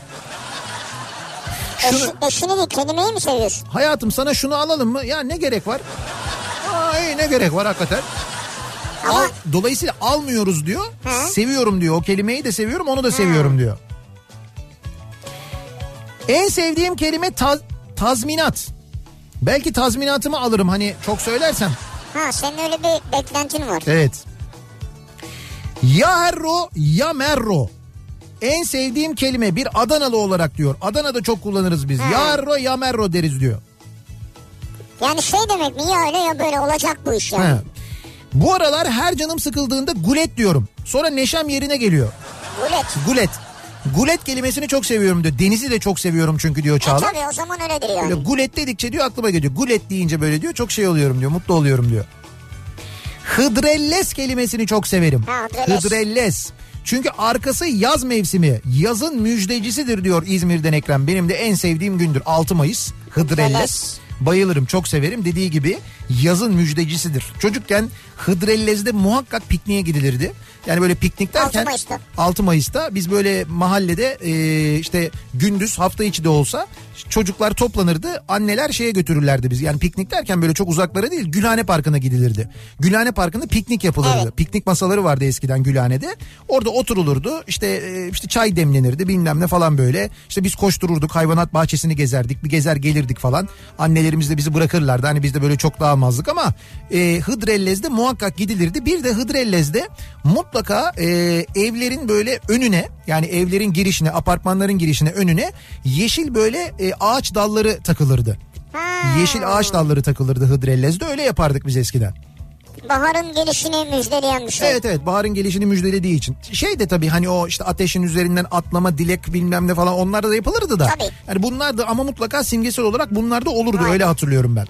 A: Şunu,
B: Eşi, eşini değil kelimeyi mi seviyorsun?
A: hayatım sana şunu alalım mı? Ya ne gerek var? Aa, iyi, ne gerek var hakikaten.
B: Ama
A: Al- dolayısıyla almıyoruz diyor.
B: Hı.
A: Seviyorum diyor. O kelimeyi de seviyorum onu da seviyorum diyor. En sevdiğim kelime ta- tazminat. Belki tazminatımı alırım hani çok söylersem.
B: ha senin öyle bir beklentin var.
A: Evet. Ya herro ya merro. En sevdiğim kelime bir Adanalı olarak diyor. Adana'da çok kullanırız biz.
B: Ha.
A: Ya herro ya merro deriz diyor.
B: Yani şey demek mi ya öyle ya böyle olacak bu iş yani.
A: Ha. Bu aralar her canım sıkıldığında gulet diyorum. Sonra neşem yerine geliyor.
B: Rulet.
A: Gulet. Gulet kelimesini çok seviyorum diyor. Denizi de çok seviyorum çünkü diyor
B: E
A: Çağla.
B: tabii o zaman öyledir yani.
A: Böyle gulet dedikçe diyor aklıma geliyor. Gulet deyince böyle diyor çok şey oluyorum diyor. Mutlu oluyorum diyor. Hıdrelles kelimesini çok severim.
B: Ha, hıdrellez.
A: Hıdrellez. Çünkü arkası yaz mevsimi. Yazın müjdecisidir diyor İzmir'den Ekrem. Benim de en sevdiğim gündür. 6 Mayıs. Hıdrellez.
B: Hıdrellez.
A: Bayılırım çok severim dediği gibi yazın müjdecisidir. Çocukken Hıdrellez'de muhakkak pikniğe gidilirdi. Yani böyle piknik derken
B: 6 Mayıs'ta.
A: 6 Mayıs'ta biz böyle mahallede e, işte gündüz hafta içi de olsa çocuklar toplanırdı. Anneler şeye götürürlerdi biz. Yani piknik derken böyle çok uzaklara değil Gülhane Parkı'na gidilirdi. Gülhane Parkı'nda piknik yapılırdı.
B: Evet.
A: Piknik masaları vardı eskiden Gülhane'de. Orada oturulurdu. İşte e, işte çay demlenirdi bilmem ne falan böyle. İşte biz koştururduk hayvanat bahçesini gezerdik. Bir gezer gelirdik falan. Annelerimiz de bizi bırakırlardı. Hani biz de böyle çok dağılmazdık ama e, Hıdrellez'de muhakkak gidilirdi. Bir de Hıdrellez'de mutlaka e, evlerin böyle önüne yani evlerin girişine apartmanların girişine önüne yeşil böyle e, ağaç dalları takılırdı.
B: Ha,
A: Yeşil ağaç dalları takılırdı Hıdrellez'de öyle yapardık biz eskiden.
B: Baharın gelişini müjdeleyen bir şey.
A: Evet evet baharın gelişini müjdelediği için. Şey de tabii hani o işte ateşin üzerinden atlama, dilek bilmem ne falan onlar da yapılırdı da.
B: Tabii.
A: Yani bunlar da ama mutlaka simgesel olarak bunlar da olurdu öyle hatırlıyorum ben.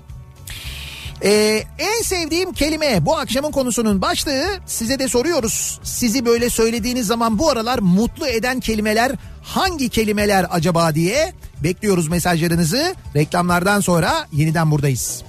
A: Ee, en sevdiğim kelime bu akşamın konusunun başlığı size de soruyoruz. Sizi böyle söylediğiniz zaman bu aralar mutlu eden kelimeler hangi kelimeler acaba diye bekliyoruz mesajlarınızı. Reklamlardan sonra yeniden buradayız.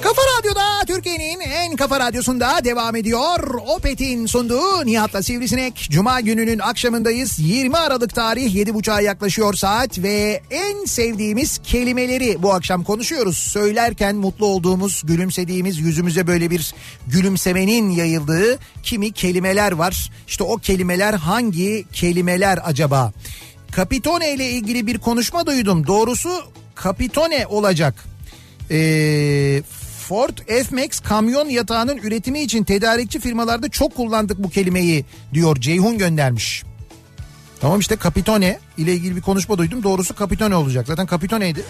A: Kafa Radyo'da Türkiye'nin en kafa radyosunda devam ediyor. Opet'in sunduğu Nihat'la Sivrisinek. Cuma gününün akşamındayız. 20 Aralık tarih 7.30'a yaklaşıyor saat ve en sevdiğimiz kelimeleri bu akşam konuşuyoruz. Söylerken mutlu olduğumuz, gülümsediğimiz, yüzümüze böyle bir gülümsemenin yayıldığı kimi kelimeler var. İşte o kelimeler hangi kelimeler acaba? Kapitone ile ilgili bir konuşma duydum. Doğrusu Kapitone olacak. Ee, Ford F-Max kamyon yatağının üretimi için tedarikçi firmalarda çok kullandık bu kelimeyi diyor Ceyhun göndermiş. Tamam işte Kapitone ile ilgili bir konuşma duydum. Doğrusu Kapitone olacak. Zaten Kapitone'ydi.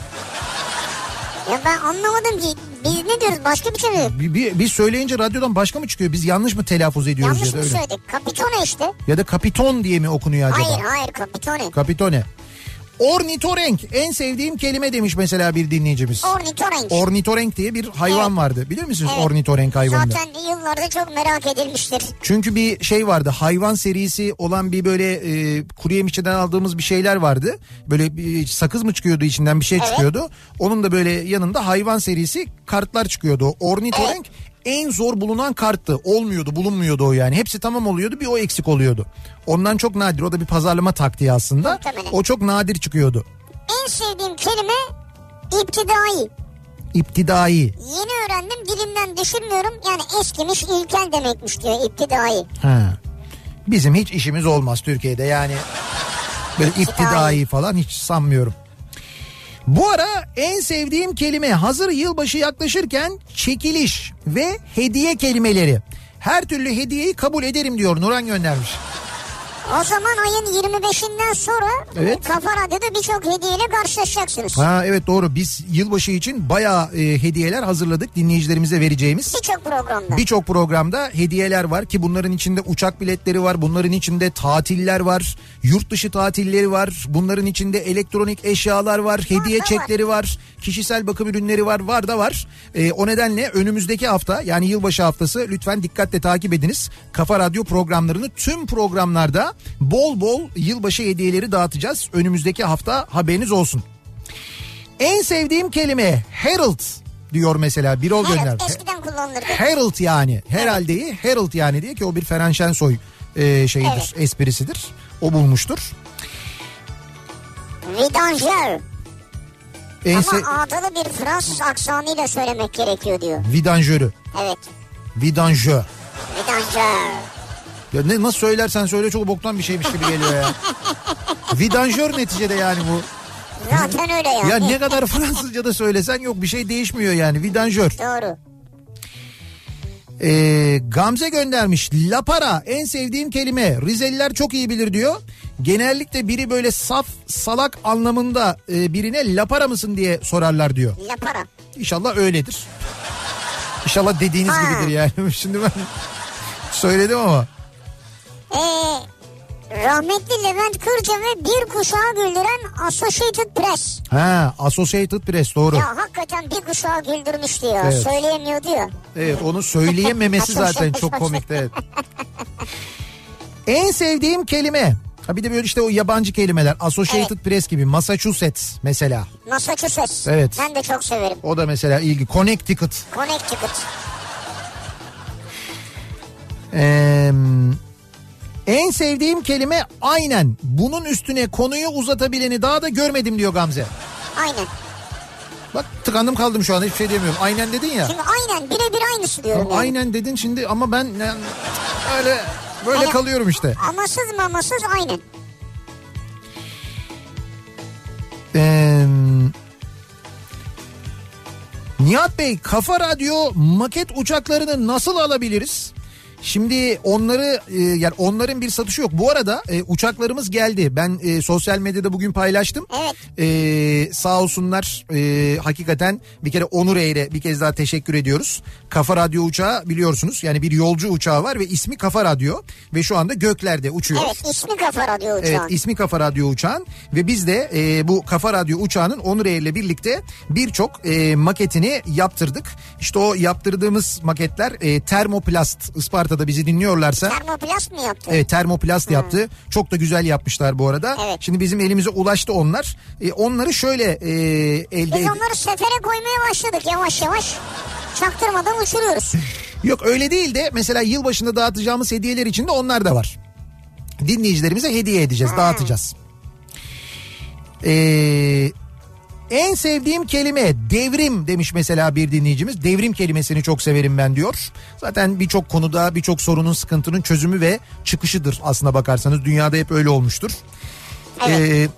B: Ya ben anlamadım ki biz ne diyoruz başka bir şey mi?
A: Bir, bir, bir söyleyince radyodan başka mı çıkıyor? Biz yanlış mı telaffuz ediyoruz
B: Yanlış şey.
A: ya da
B: mı
A: öyle?
B: söyledik? Kapitone işte.
A: Ya da Kapiton diye mi okunuyor acaba?
B: Hayır hayır kapitone.
A: Kapitone. Ornitorenk en sevdiğim kelime demiş mesela bir dinleyicimiz.
B: Ornitorenk.
A: Ornitorenk diye bir hayvan
B: Evet.
A: vardı. Biliyor musunuz
B: Evet.
A: ornitorenk hayvanını?
B: Zaten yıllarda çok merak edilmiştir.
A: Çünkü bir şey vardı hayvan serisi olan bir böyle e, kuru yemişçiden aldığımız bir şeyler vardı. Böyle bir sakız mı çıkıyordu içinden bir şey
B: Evet.
A: çıkıyordu. Onun da böyle yanında hayvan serisi kartlar çıkıyordu. O Ornitorenk en zor bulunan karttı. Olmuyordu bulunmuyordu o yani. Hepsi tamam oluyordu bir o eksik oluyordu. Ondan çok nadir o da bir pazarlama taktiği aslında.
B: Muhtemelen.
A: O çok nadir çıkıyordu.
B: En sevdiğim kelime iptidai.
A: İptidai.
B: Yeni öğrendim dilimden düşürmüyorum. Yani eskimiş ilkel demekmiş diyor iptidai.
A: Ha. Bizim hiç işimiz olmaz Türkiye'de yani. Böyle iptidai falan hiç sanmıyorum. Bu ara en sevdiğim kelime hazır yılbaşı yaklaşırken çekiliş ve hediye kelimeleri. Her türlü hediyeyi kabul ederim diyor Nuran göndermiş.
B: O zaman ayın 25'inden sonra
A: Evet.
B: Kafa Radyo'da birçok hediyeyle karşılaşacaksınız.
A: Ha evet doğru biz yılbaşı için bayağı e, hediyeler hazırladık dinleyicilerimize vereceğimiz.
B: Birçok programda.
A: Birçok programda hediyeler var ki bunların içinde uçak biletleri var, bunların içinde tatiller var, yurt dışı tatilleri var, bunların içinde elektronik eşyalar var, hediye
B: da var.
A: çekleri var, kişisel bakım ürünleri var, var da var. Ee, o nedenle önümüzdeki hafta yani yılbaşı haftası lütfen dikkatle takip ediniz. Kafa Radyo programlarını tüm programlarda bol bol yılbaşı hediyeleri dağıtacağız. Önümüzdeki hafta haberiniz olsun. En sevdiğim kelime Herald diyor mesela Birol
B: Evet,
A: göndermiş.
B: eskiden kullanılırdı.
A: Herald yani. Herhalde'yi Herald yani diye ki o bir Feren Şensoy e, şeyidir,
B: Evet.
A: esprisidir. O bulmuştur.
B: Vidanger.
A: En se-
B: Ama adalı bir Fransız aksanıyla söylemek gerekiyor diyor.
A: vidanjörü.
B: Evet.
A: Vidanjö.
B: Vidanger.
A: Ya ne, nasıl söylersen söyle çok boktan bir şeymiş gibi geliyor ya. Vidanjör neticede yani bu.
B: Zaten öyle yani.
A: Ya ne kadar Fransızca da söylesen yok bir şey değişmiyor yani. Vidanjör.
B: Doğru.
A: Ee, Gamze göndermiş. Lapara en sevdiğim kelime. Rizeliler çok iyi bilir diyor. Genellikle biri böyle saf salak anlamında e, birine lapara mısın diye sorarlar diyor.
B: Lapara.
A: İnşallah öyledir. İnşallah dediğiniz
B: Ha.
A: gibidir yani. Şimdi ben Söyledim ama.
B: Ee, rahmetli Levent Kırca'nı bir kuşağı güldüren Associated Press.
A: Ha, Associated Press doğru.
B: Ya hakikaten bir kuşağı güldürmüş diyor.
A: Evet.
B: Söyleyemiyor diyor.
A: Evet onu söyleyememesi zaten çok komikti. Evet. en sevdiğim kelime. Ha bir de böyle işte o yabancı kelimeler. Associated Press gibi. Massachusetts mesela.
B: Massachusetts.
A: Evet.
B: Ben de çok severim.
A: O da mesela ilgi. Connecticut.
B: Connecticut.
A: Ee, en sevdiğim kelime aynen. Bunun üstüne konuyu uzatabileni daha da görmedim diyor Gamze.
B: Aynen.
A: Bak tıkandım kaldım şu an hiçbir şey diyemiyorum. Aynen dedin ya.
B: Şimdi aynen birebir aynısı diyorum. yani.
A: Aynen dedin şimdi ama ben yani öyle böyle
B: Aynen.
A: kalıyorum işte.
B: Amasız mamasız aynen.
A: Ee, Nihat Bey Kafa Radyo maket uçaklarını nasıl alabiliriz? Şimdi onları e, yani onların bir satışı yok. Bu arada e, uçaklarımız geldi. Ben e, sosyal medyada bugün paylaştım.
B: Evet.
A: E, sağ olsunlar e, hakikaten bir kere Onur Eğre bir kez daha teşekkür ediyoruz. Kafa Radyo uçağı biliyorsunuz yani bir yolcu uçağı var ve ismi Kafa Radyo ve şu anda göklerde uçuyor.
B: Evet ismi kafa radyo uçağın.
A: Evet ismi Kafa Radyo uçağın ve biz de e, bu Kafa Radyo uçağının Onur Eğer ile birlikte birçok e, maketini yaptırdık. İşte o yaptırdığımız maketler e, termoplast Isparta'da bizi dinliyorlarsa.
B: Termoplast mı yaptı?
A: Evet termoplast yaptı. Çok da güzel yapmışlar bu arada.
B: Evet.
A: Şimdi bizim elimize ulaştı onlar. E, onları şöyle e, elde
B: Biz
A: ed-
B: onları sefere koymaya başladık yavaş yavaş. Çaktırmadan uçuruyoruz.
A: Ee, Yok öyle değil de mesela yılbaşında dağıtacağımız hediyeler içinde onlar da var. Dinleyicilerimize hediye edeceğiz, dağıtacağız. Ee, en sevdiğim kelime devrim demiş mesela bir dinleyicimiz. Devrim kelimesini çok severim ben diyor. Zaten birçok konuda birçok sorunun sıkıntının çözümü ve çıkışıdır aslına bakarsanız. Dünyada hep öyle olmuştur.
B: Evet.
A: Ee,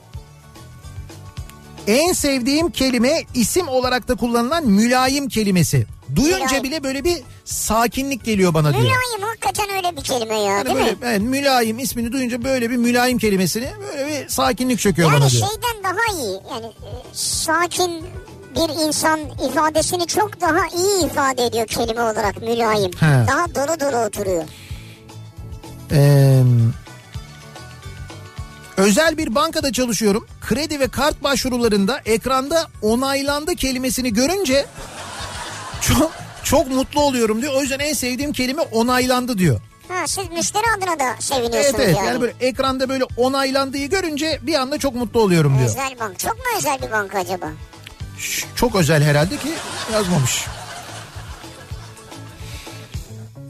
A: en sevdiğim kelime isim olarak da kullanılan mülayim kelimesi. Duyunca
B: Mülayim.
A: bile böyle bir sakinlik geliyor bana diyor.
B: Mülayim hakikaten öyle bir kelime ya
A: Yani
B: değil
A: böyle,
B: mi?
A: evet, mülayim ismini duyunca böyle bir mülayim kelimesini böyle bir sakinlik çöküyor bana
B: Yani şey-
A: diyor.
B: şeyden daha iyi yani e, sakin bir insan ifadesini çok daha iyi ifade ediyor kelime olarak mülayim.
A: He.
B: Daha dolu dolu oturuyor.
A: Ee, özel bir bankada çalışıyorum. Kredi ve kart başvurularında ekranda onaylandı kelimesini görünce çok çok mutlu oluyorum diyor. O yüzden en sevdiğim kelime onaylandı diyor.
B: Ha, siz müşteri adına da
A: Evet
B: seviniyorsunuz
A: evet yani.
B: yani.
A: böyle ekranda böyle onaylandığı görünce bir anda çok mutlu oluyorum diyor.
B: Özel bank. Çok mu özel bir banka acaba?
A: Ş- Çok özel herhalde ki yazmamış.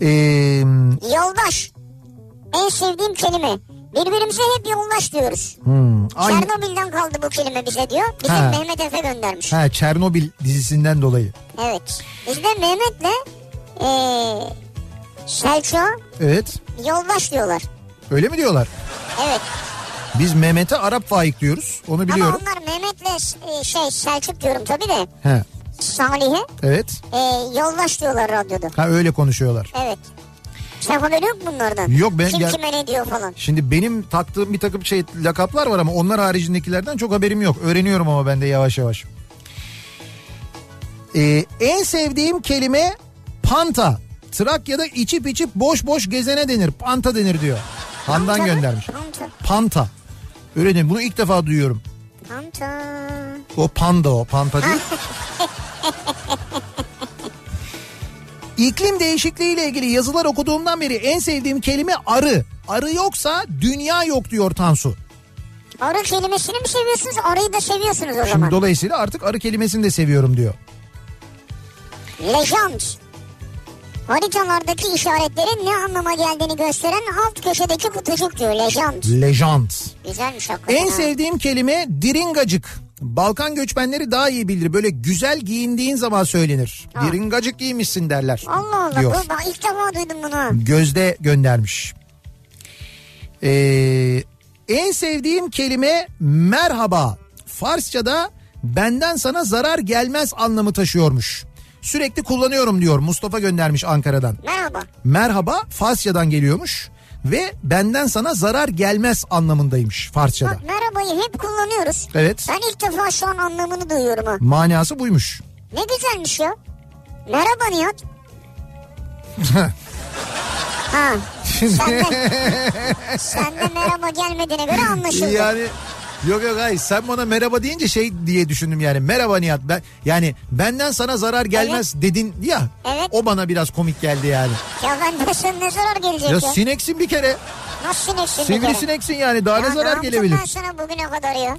A: Ee,
B: Yoldaş. En sevdiğim kelime. Birbirimize hep yoldaş diyoruz.
A: hmm, aynı,
B: Çernobil'den kaldı bu kelime bize diyor. Bizim
A: Ha.
B: Mehmet Efe göndermiş.
A: ha, Çernobil dizisinden dolayı.
B: Evet. Biz de Mehmet'le eee Selçuk'a
A: Evet
B: yoldaş diyorlar.
A: öyle mi diyorlar?
B: Evet.
A: Biz Mehmet'e Arap faik diyoruz onu
B: Ama
A: biliyorum.
B: onlar Mehmet'le e, şey Selçuk diyorum tabii de
A: He,
B: Salih'e
A: evet
B: e, yoldaş diyorlar radyoda.
A: ha, öyle konuşuyorlar.
B: Evet. Sen haberi yok bunlardan.
A: Yok, ben
B: Kim
A: gel-
B: kime ne diyor falan.
A: Şimdi benim taktığım bir takım şey lakaplar var ama onlar haricindekilerden çok haberim yok. Öğreniyorum ama ben de yavaş yavaş. Ee, en sevdiğim kelime panta. Trakya'da içip içip boş boş gezene denir. Panta denir diyor. Handan
B: Panta mı?
A: göndermiş.
B: Panta.
A: Panta. Öyle değil mi? Bunu ilk defa duyuyorum.
B: Panta.
A: O panda o panta değil. İklim değişikliği ile ilgili yazılar okuduğumdan beri en sevdiğim kelime arı. Arı yoksa dünya yok diyor Tansu.
B: Arı kelimesini mi seviyorsunuz? Arıyı da seviyorsunuz o
A: Şimdi
B: zaman.
A: dolayısıyla artık arı kelimesini de seviyorum diyor.
B: Legend. Haritalardaki işaretlerin ne anlama geldiğini gösteren alt köşedeki kutucuk diyor. Legend.
A: Lejant.
B: Güzelmiş hakikaten.
A: En
B: ha.
A: sevdiğim kelime diringacık. Balkan göçmenleri daha iyi bilir. Böyle güzel giyindiğin zaman söylenir. Diringacık giymişsin derler.
B: Allah Allah.
A: diyor.
B: Bu, bak ilk defa duydum bunu. ha.
A: Gözde göndermiş. Ee, en sevdiğim kelime merhaba. Farsça'da benden sana zarar gelmez anlamı taşıyormuş. Sürekli kullanıyorum diyor Mustafa göndermiş Ankara'dan.
B: Merhaba.
A: Merhaba Farsçadan geliyormuş ve benden sana zarar gelmez anlamındaymış Farsçada.
B: Bak merhabayı hep kullanıyoruz.
A: Evet.
B: Ben ilk defa şu an anlamını duyuyorum ha.
A: Manası buymuş.
B: Ne güzelmiş ya. Merhaba Nihat. Ha.
A: Şimdi
B: Sende merhaba gelmediğine göre anlaşıldı.
A: yani yok yok hayır sen bana merhaba deyince şey diye düşündüm yani merhaba Nihat ben yani benden sana zarar gelmez dedin ya
B: Evet.
A: o bana biraz komik geldi yani.
B: Ya ben de sana ne zarar gelecek
A: Ya
B: ya?
A: sineksin bir kere
B: Nasıl sineksin bir kere?
A: sivrisineksin yani daha
B: Ya
A: ne zarar
B: yaptım
A: gelebilir.
B: ben sana bugüne kadar ya?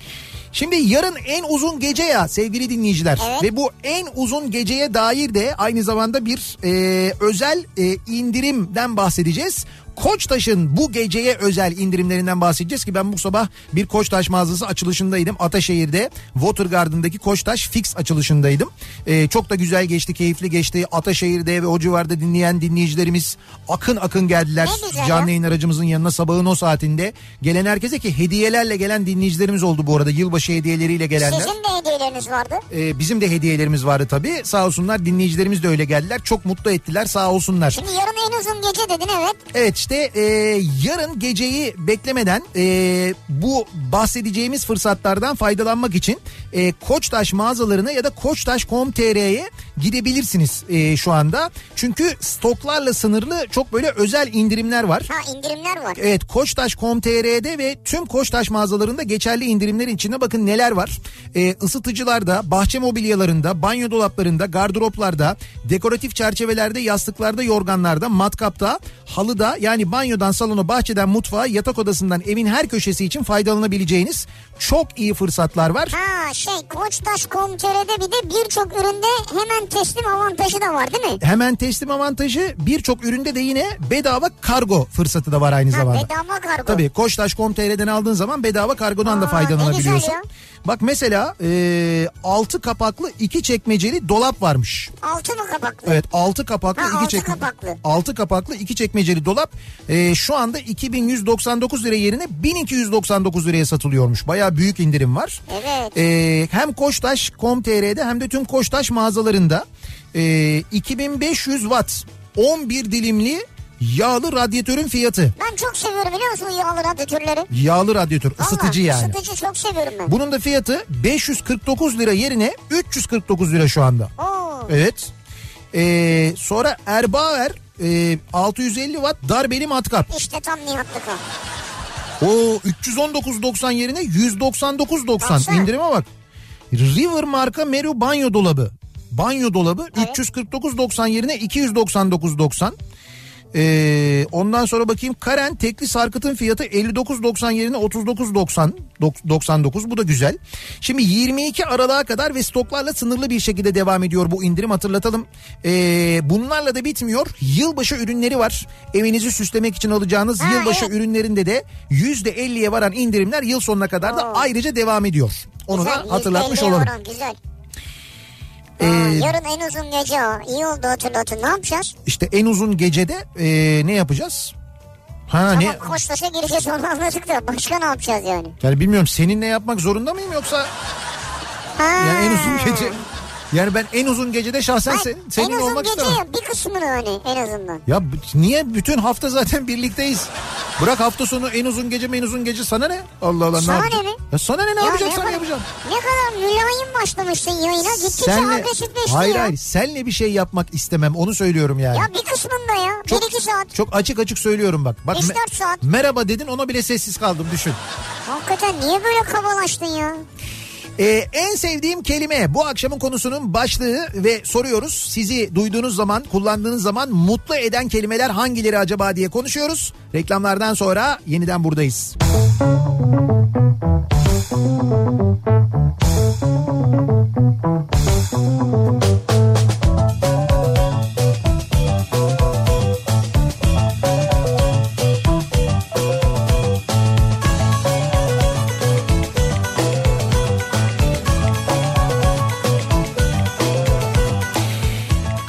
A: Şimdi yarın en uzun gece ya sevgili dinleyiciler.
B: Evet.
A: Ve bu en uzun geceye dair de aynı zamanda bir e, özel e, indirimden bahsedeceğiz. Koçtaş'ın bu geceye özel indirimlerinden bahsedeceğiz ki ben bu sabah bir Koçtaş mağazası açılışındaydım. Ataşehir'de Water Garden'daki Koçtaş Fix açılışındaydım. E, çok da güzel geçti, keyifli geçti. Ataşehir'de ve o civarda dinleyen dinleyicilerimiz akın akın geldiler.
B: Ne güzel ya.
A: Canlı yayın aracımızın yanına sabahın o saatinde gelen herkese ki hediyelerle gelen dinleyicilerimiz oldu bu arada. Yılbaşı hediyeleriyle gelenler.
B: Sizin de hediyeleriniz vardı.
A: Ee, bizim de hediyelerimiz vardı tabii. Sağ olsunlar dinleyicilerimiz de öyle geldiler. Çok mutlu ettiler sağ olsunlar.
B: Şimdi yarın en uzun gece dedin evet.
A: Evet işte e, yarın geceyi beklemeden e, bu bahsedeceğimiz fırsatlardan faydalanmak için e, Koçtaş mağazalarına ya da koçtaş.com.tr'ye gidebilirsiniz e, şu anda. Çünkü stoklarla sınırlı çok böyle özel indirimler var.
B: Ha indirimler var.
A: Evet koçtaş.com.tr'de ve tüm Koçtaş mağazalarında geçerli indirimlerin içinde bakın neler var. Ee, ısıtıcılarda, bahçe mobilyalarında, banyo dolaplarında, gardıroplarda, dekoratif çerçevelerde, yastıklarda, yorganlarda, matkapta, halıda yani banyodan salona, bahçeden mutfağa, yatak odasından evin her köşesi için faydalanabileceğiniz çok iyi fırsatlar var.
B: Ha şey koçtaş.com.tr'de bir de birçok üründe hemen teslim avantajı da var değil mi?
A: Hemen teslim avantajı birçok üründe de yine bedava kargo fırsatı da var aynı
B: Ha,
A: zamanda.
B: bedava kargo.
A: Tabii koçtaş.com.tr'den aldığın zaman bedava kargodan da
B: Aa, ne
A: faydalanabiliyorsun.
B: güzel ya.
A: Bak mesela e, 6 kapaklı 2 çekmeceli dolap varmış.
B: Altı mı kapaklı?
A: Evet 6 kapaklı
B: Ha,
A: 2
B: altı
A: çekmeceli.
B: kapaklı.
A: 6 kapaklı 2 çekmeceli dolap e, şu anda 2199 lira yerine 1299 liraya satılıyormuş. Baya büyük indirim var.
B: Evet.
A: E, hem Koçtaş.com.tr'de hem de tüm Koçtaş mağazalarında e, 2500 watt 11 dilimli yağlı radyatörün fiyatı.
B: Ben çok seviyorum biliyor musun yağlı radyo türleri?
A: Yağlı radyatör
B: Vallahi
A: ısıtıcı yani.
B: Isıtıcı çok seviyorum ben.
A: Bunun da fiyatı 549 lira yerine 349 lira şu anda.
B: Oo.
A: Evet. Ee, sonra Erbauer e, 650 watt darbeli matkap.
B: İşte tam Nihat'lık o.
A: O 319.90 yerine 199.90
B: Baksana.
A: indirime bak. River marka Meru banyo dolabı. Banyo dolabı
B: Evet.
A: 349.90 yerine 299.90. Ee, ondan sonra bakayım Karen tekli sarkıtın fiyatı 59.90 yerine 39.90 dok- 99 bu da güzel. Şimdi 22 Aralık'a kadar ve stoklarla sınırlı bir şekilde devam ediyor bu indirim hatırlatalım. Ee, bunlarla da bitmiyor. Yılbaşı ürünleri var. Evinizi süslemek için alacağınız
B: Ha,
A: yılbaşı
B: evet.
A: ürünlerinde de %50'ye varan indirimler yıl sonuna kadar da
B: Oo.
A: ayrıca devam ediyor. Onu
B: Güzel,
A: da hatırlatmış
B: yüzde elli
A: olalım.
B: oran, Güzel.
A: Ee,
B: Aa, yarın en uzun gece o. İyi oldu hatırlatın. Ne yapacağız?
A: İşte en uzun gecede ee, ne yapacağız? Ha ne?
B: Tamam koçtaşa gireceğiz onu anladık da başka ne yapacağız yani?
A: Yani bilmiyorum seninle yapmak zorunda mıyım yoksa
B: Ha.
A: yani en uzun gece yani ben en uzun gecede şahsen
B: Hayır,
A: sen, senin
B: Hmm. en uzun
A: olmak
B: gece
A: istemem.
B: ya, bir kısmını hani en azından.
A: Ya b- niye bütün hafta zaten birlikteyiz? Bırak hafta sonu en uzun gece mi en uzun gece sana ne? Allah Allah
B: Sana
A: ne
B: ne
A: yapacağım?
B: mi?
A: Ya sana ne ne
B: Ya
A: yapacaksan
B: kadar-
A: yapacağım.
B: Ne kadar mülayim başlamışsın yayına. Gittikçe agresifleşti
A: hayır
B: ya.
A: hayır senle bir şey yapmak istemem onu söylüyorum yani.
B: Ya bir kısmında ya.
A: Çok-
B: bir iki saat.
A: Çok açık açık söylüyorum bak. Bak
B: Üç,
A: me-
B: dört saat.
A: merhaba dedin ona bile sessiz kaldım düşün.
B: Hakikaten niye böyle kabalaştın ya?
A: Ee, en sevdiğim kelime bu akşamın konusunun başlığı ve soruyoruz. Sizi duyduğunuz zaman, kullandığınız zaman mutlu eden kelimeler hangileri acaba diye konuşuyoruz. Reklamlardan sonra yeniden buradayız.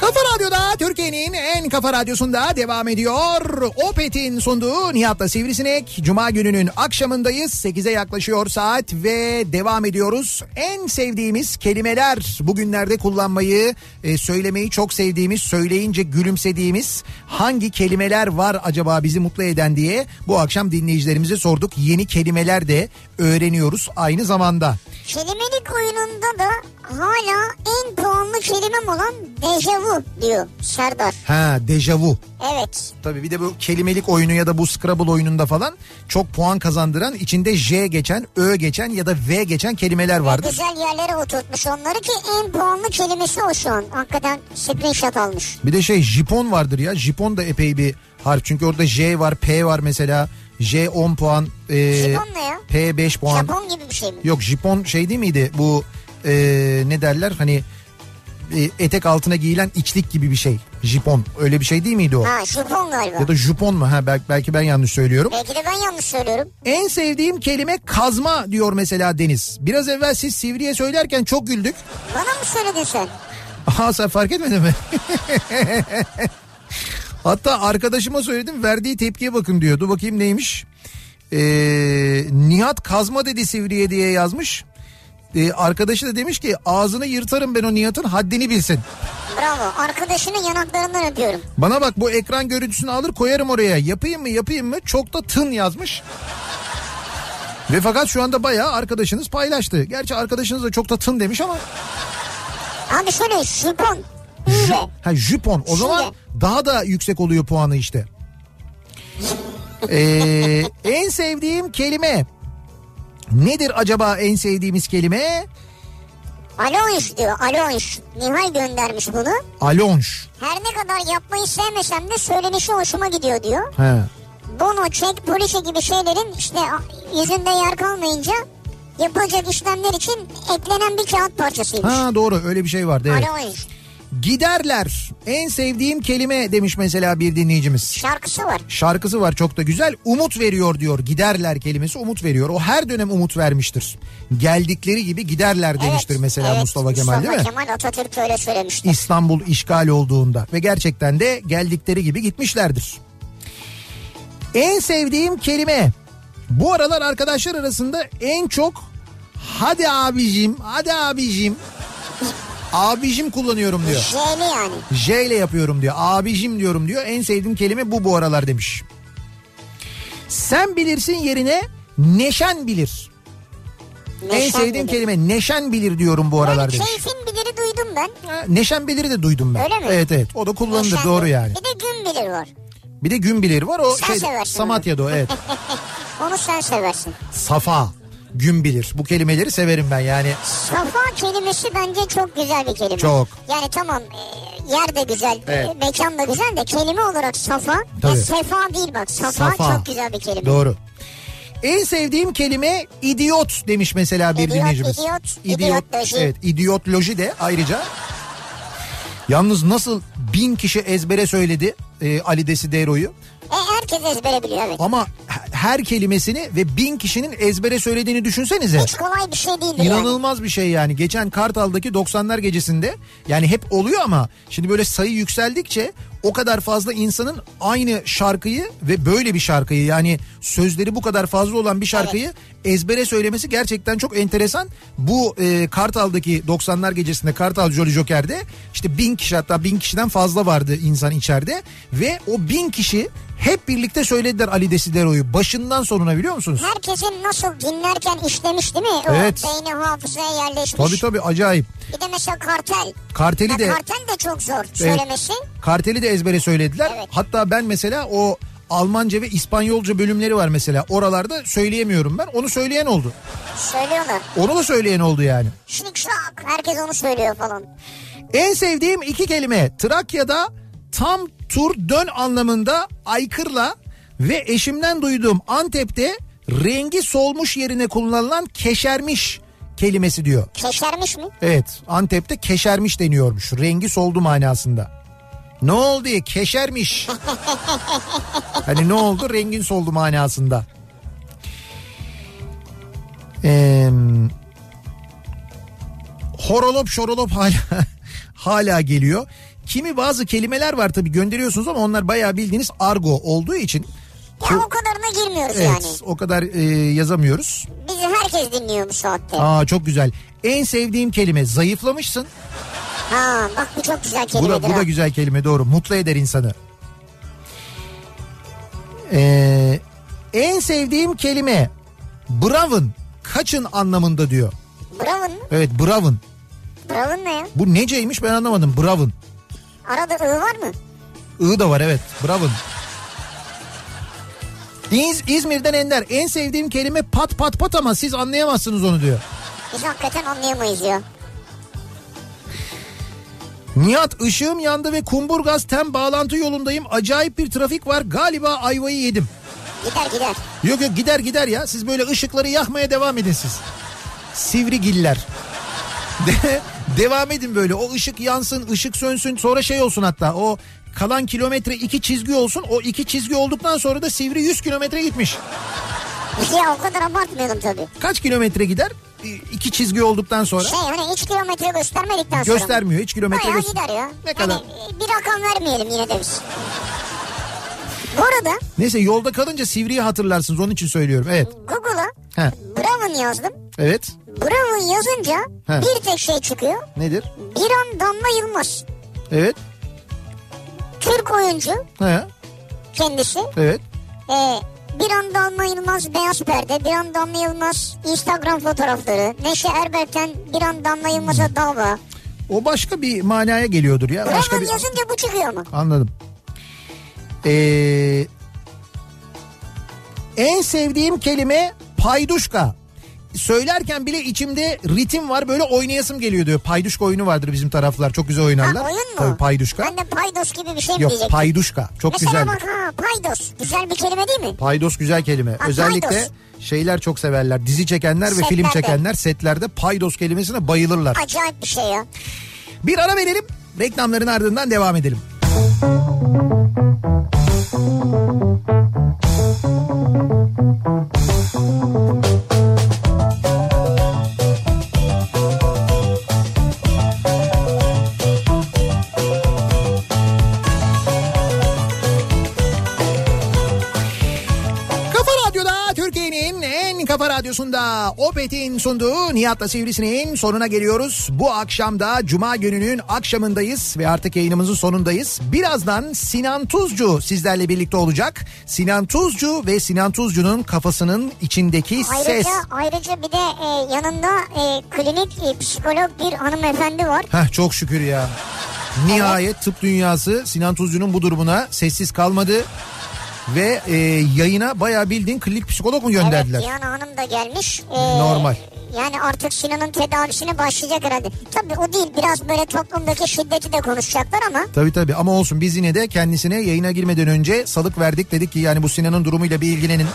D: Kafa Radyo'da Türkiye'nin en kafa radyosunda devam ediyor. Opet'in sunduğu Nihat'la Sivrisinek. Cuma gününün akşamındayız. 8'e yaklaşıyor saat ve devam ediyoruz. En sevdiğimiz kelimeler bugünlerde kullanmayı, e, söylemeyi çok sevdiğimiz, söyleyince gülümsediğimiz hangi kelimeler var acaba bizi mutlu eden diye bu akşam dinleyicilerimize sorduk. Yeni kelimeler de öğreniyoruz aynı zamanda.
B: Kelimelik oyununda da hala en puanlı kelimem olan dejavu diyor Serdar.
A: Ha dejavu.
B: Evet.
A: Tabii bir de bu kelimelik oyunu ya da bu Scrabble oyununda falan çok puan kazandıran içinde J geçen, Ö geçen ya da V geçen kelimeler vardır.
B: Güzel yerlere oturtmuş onları ki en puanlı kelimesi o şu an. Hakikaten screenshot almış.
A: Bir de şey Japon vardır ya. Japon da epey bir harf. Çünkü orada J var, P var mesela. J 10 puan, e,
B: Japon ne ya?
A: P 5 puan.
B: Japon gibi bir şey mi?
A: Yok Japon şey değil miydi? Bu e, ne derler? Hani e, etek altına giyilen içlik gibi bir şey. Japon. Öyle bir şey değil miydi o?
B: Ha Japon galiba.
A: Ya da Japon mu? Ha belki, belki ben yanlış söylüyorum.
B: Belki de ben yanlış söylüyorum.
A: En sevdiğim kelime kazma diyor mesela Deniz. Biraz evvel siz Sivri'ye söylerken çok güldük.
B: Bana mı söyledin sen?
A: Aha sen fark etmedin mi? Hatta arkadaşıma söyledim verdiği tepkiye bakın diyordu. Bakayım neymiş? Ee, Nihat kazma dedi Sivri'ye diye yazmış. Ee, arkadaşı da demiş ki ağzını yırtarım ben o Nihat'ın haddini bilsin.
B: Bravo. Arkadaşının yanaklarından öpüyorum.
A: Bana bak bu ekran görüntüsünü alır koyarım oraya. Yapayım mı yapayım mı? Çok da tın yazmış. Ve fakat şu anda bayağı arkadaşınız paylaştı. Gerçi arkadaşınız da çok da tın demiş ama
B: Abi şöyle Japon. Ü-
A: ha jupon. O zaman daha da yüksek oluyor puanı işte. Ee, en sevdiğim kelime. Nedir acaba en sevdiğimiz kelime?
B: Aloş diyor. Aloş. Nihal göndermiş bunu.
A: Alonş.
B: Her ne kadar yapmayı sevmesem de söylenişi hoşuma gidiyor diyor.
A: He.
B: Bono, çek, poliçe gibi şeylerin işte yüzünde yer kalmayınca yapılacak işlemler için eklenen bir kağıt parçasıymış. Hani
A: Ha doğru öyle bir şey vardı. Evet.
B: Aloş.
A: Giderler. En sevdiğim kelime demiş mesela bir dinleyicimiz.
B: Şarkısı var.
A: Şarkısı var çok da güzel. Umut veriyor diyor. Giderler kelimesi umut veriyor. O her dönem umut vermiştir. Geldikleri gibi giderler demiştir
B: Evet,
A: mesela
B: evet.
A: Mustafa Kemal değil mi?
B: Mustafa Kemal Atatürk öyle söylemişti.
A: İstanbul işgal olduğunda ve gerçekten de geldikleri gibi gitmişlerdir. En sevdiğim kelime bu aralar arkadaşlar arasında en çok hadi abicim hadi abicim abicim kullanıyorum diyor.
B: J'li yani.
A: J ile yapıyorum diyor. Abicim diyorum diyor. En sevdiğim kelime bu bu aralar demiş. Sen bilirsin yerine neşen bilir. en
B: Neşen
A: sevdiğim
B: bilir.
A: kelime neşen bilir diyorum bu
B: Yani
A: aralar demiş.
B: keyfin biliri duydum ben.
A: Ha, Neşen biliri de duydum ben.
B: Öyle mi?
A: Evet evet. O da kullanılır
B: Neşen
A: doğru
B: bilir.
A: yani.
B: Bir de gün bilir var.
A: Bir de gün biliri var o
B: Sen
A: şey
B: seversin onu.
A: Samatya'da o evet.
B: Onu sen seversin.
A: Safa, gün bilir. Bu kelimeleri severim ben yani.
B: Safa kelimesi bence çok güzel bir kelime.
A: Çok.
B: Yani tamam e, yer de güzel,
A: Evet.
B: e, mekan da güzel de kelime olarak safa.
A: Tabii.
B: Ya sefa değil bak safa,
A: Safa.
B: çok güzel bir kelime.
A: Doğru. En sevdiğim kelime idiot demiş mesela bir
B: İdiot,
A: dinleyicimiz.
B: idiot, idiotloji.
A: Evet, idiotloji de ayrıca. Yalnız nasıl bin kişi ezbere söyledi e, Ali Desidero'yu
B: E, herkes ezbere biliyor evet.
A: ama h- her kelimesini ve bin kişinin ezbere söylediğini düşünsenize.
B: Hiç kolay bir şey değildir yani.
A: İnanılmaz bir şey yani. Geçen Kartal'daki 90'lar gecesinde yani hep oluyor ama şimdi böyle sayı yükseldikçe o kadar fazla insanın aynı şarkıyı ve böyle bir şarkıyı yani sözleri bu kadar fazla olan bir şarkıyı ezbere söylemesi gerçekten çok enteresan. Bu e, Kartal'daki 90'lar gecesinde Kartal Jolly Joker'de işte bin kişi hatta bin kişiden fazla vardı insan içeride ve o bin kişi hep birlikte söylediler Ali Desidero'yu başından sonuna biliyor musunuz?
B: Herkesin nasıl dinlerken işlemiş değil mi? O
A: Evet.
B: beyni hafızaya yerleşmiş.
A: Tabii tabii acayip.
B: Bir de mesela kartel.
A: Karteli de
B: Ya kartel de çok zor söylemesi.
A: Karteli de ezbere söylediler.
B: Evet.
A: Hatta ben mesela o Almanca ve İspanyolca bölümleri var mesela. Oralarda söyleyemiyorum ben. Onu söyleyen oldu.
B: Söylüyorlar.
A: Onu da söyleyen oldu yani.
B: Şık şak. Herkes onu söylüyor falan.
A: En sevdiğim iki kelime. Trakya'da tam tur dön anlamında aykırla ve eşimden duyduğum Antep'te rengi solmuş yerine kullanılan keşermiş kelimesi diyor.
B: Keşermiş mi?
A: Evet Antep'te keşermiş deniyormuş. Rengi soldu manasında. Ne oldu ya keşermiş. hani ne oldu rengin soldu manasında. Ee, horolop şorolop hala hala geliyor. Kimi bazı kelimeler var tabii gönderiyorsunuz ama onlar bayağı bildiğiniz argo olduğu için
B: Ya o kadarına girmiyoruz
A: evet
B: yani.
A: o kadar e, yazamıyoruz.
B: Bizi herkes dinliyor bu saatte.
A: Aa çok güzel. En sevdiğim kelime zayıflamışsın.
B: Ha bak bu çok güzel
A: Bu
B: kelimedir.
A: da, bu
B: ha.
A: da güzel kelime doğru. Mutlu eder insanı. Ee, en sevdiğim kelime bravın kaçın anlamında diyor.
B: Bravo'nun.
A: Evet bravın.
B: Brown ne ya?
A: Bu neceymiş ben anlamadım. Bravın.
B: Arada ı var mı?
A: I da var evet. Bravın. İz, İzmir'den Ender. En sevdiğim kelime pat pat pat ama siz anlayamazsınız onu diyor.
B: Biz hakikaten anlayamayız ya.
A: Nihat ışığım yandı ve Kumburgaz tem bağlantı yolundayım. Acayip bir trafik var. Galiba ayvayı yedim.
B: Gider gider.
A: Yok yok gider gider ya. Siz böyle ışıkları yakmaya devam edin siz. Sivrigiller. De, devam edin böyle. O ışık yansın, ışık sönsün. Sonra şey olsun hatta. O kalan kilometre iki çizgi olsun. O iki çizgi olduktan sonra da sivri 100 kilometre gitmiş.
B: Ya o kadar abartmayalım tabii.
A: Kaç kilometre gider? İ- İki çizgi olduktan sonra.
B: Şey hani hiç kilometre göstermedikten sonra.
A: Göstermiyor. Hiç kilometre
B: Bayağı
A: göster-
B: gider ya.
A: Ne kadar?
B: Hani bir rakam vermeyelim yine de biz. Bu arada
A: Neyse yolda kalınca sivriyi hatırlarsınız. Onun için söylüyorum. Evet.
B: Google'a
A: He.
B: Brown yazdım.
A: Evet.
B: Brown yazınca
A: He.
B: bir tek şey çıkıyor.
A: Nedir?
B: Bir an Damla Yılmaz.
A: Evet.
B: Türk oyuncu
A: He.
B: kendisi.
A: Evet.
B: Ee, bir an Damla Yılmaz beyaz perde. Bir an Damla Yılmaz Instagram fotoğrafları. Neşe Erberk'ten bir an Damla Yılmaz'a dava.
A: O başka bir manaya geliyordur ya. Başka
B: Brown
A: bir...
B: yazınca bu çıkıyor mu?
A: Anladım. Ee, en sevdiğim kelime payduşka. Söylerken bile içimde ritim var böyle oynayasım geliyor diyor. Payduşka oyunu vardır bizim taraflar çok güzel oynarlar.
B: Ha, oyun mu?
A: Tabii payduşka.
B: Ben de paydos gibi bir şey mi
A: Yok
B: diyecektim?
A: payduşka çok
B: Mesela
A: güzel.
B: bak ha paydos. Güzel bir kelime değil mi?
A: Paydos güzel kelime.
B: Ha,
A: Özellikle
B: paydos.
A: şeyler çok severler. Dizi çekenler ve film
B: Setlerde.
A: çekenler setlerde paydos kelimesine bayılırlar.
B: Acayip bir şey ya.
A: Bir ara verelim. Reklamların ardından devam edelim.
E: Kafa Radyo'da Türkiye'nin en kafa radyosunda Opet'in sunduğu Nihat'la Sivrisineğin sonuna geliyoruz. Bu akşam da Cuma gününün akşamındayız ve artık yayınımızın sonundayız. Birazdan Sinan Tuzcu sizlerle birlikte olacak. Sinan Tuzcu ve Sinan Tuzcu'nun kafasının içindeki
B: Ayrıca
E: ses.
B: ayrıca bir de e, yanında e, klinik e, psikolog bir hanımefendi var.
A: Heh çok şükür ya. Nihayet tıp dünyası Sinan Tuzcu'nun bu durumuna sessiz kalmadı. Ve e, yayına bayağı bildiğin klinik psikolog mu gönderdiler?
B: Evet Diana Hanım da gelmiş. E,
A: Normal.
B: Yani artık Sinan'ın tedavisine başlayacak herhalde. Tabii o değil biraz böyle toplumdaki şiddeti de konuşacaklar ama
A: Tabii tabii ama olsun biz yine de kendisine yayına girmeden önce salık verdik. Dedik ki yani bu Sinan'ın durumuyla bir ilgilenin.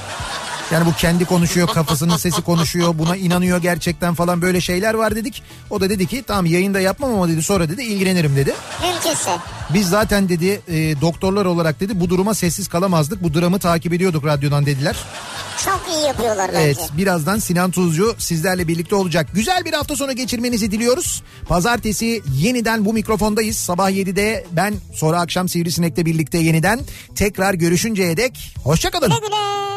A: Yani bu kendi konuşuyor kafasının sesi konuşuyor buna inanıyor gerçekten falan böyle şeyler var dedik. O da dedi ki tamam yayında yapmam ama dedi sonra dedi ilgilenirim dedi.
B: mümkünse.
A: Biz zaten dedi e, doktorlar olarak dedi bu duruma sessiz kalamazdık. Bu dramı takip ediyorduk radyodan dediler.
B: Çok iyi yapıyorlar bence.
A: Evet birazdan Sinan Tuzcu sizlerle birlikte olacak. Güzel bir hafta sonu geçirmenizi diliyoruz. Pazartesi yeniden bu mikrofondayız. Sabah 7'de ben sonra akşam Sivrisinek'le birlikte yeniden tekrar görüşünceye dek hoşçakalın.
B: Güle güle.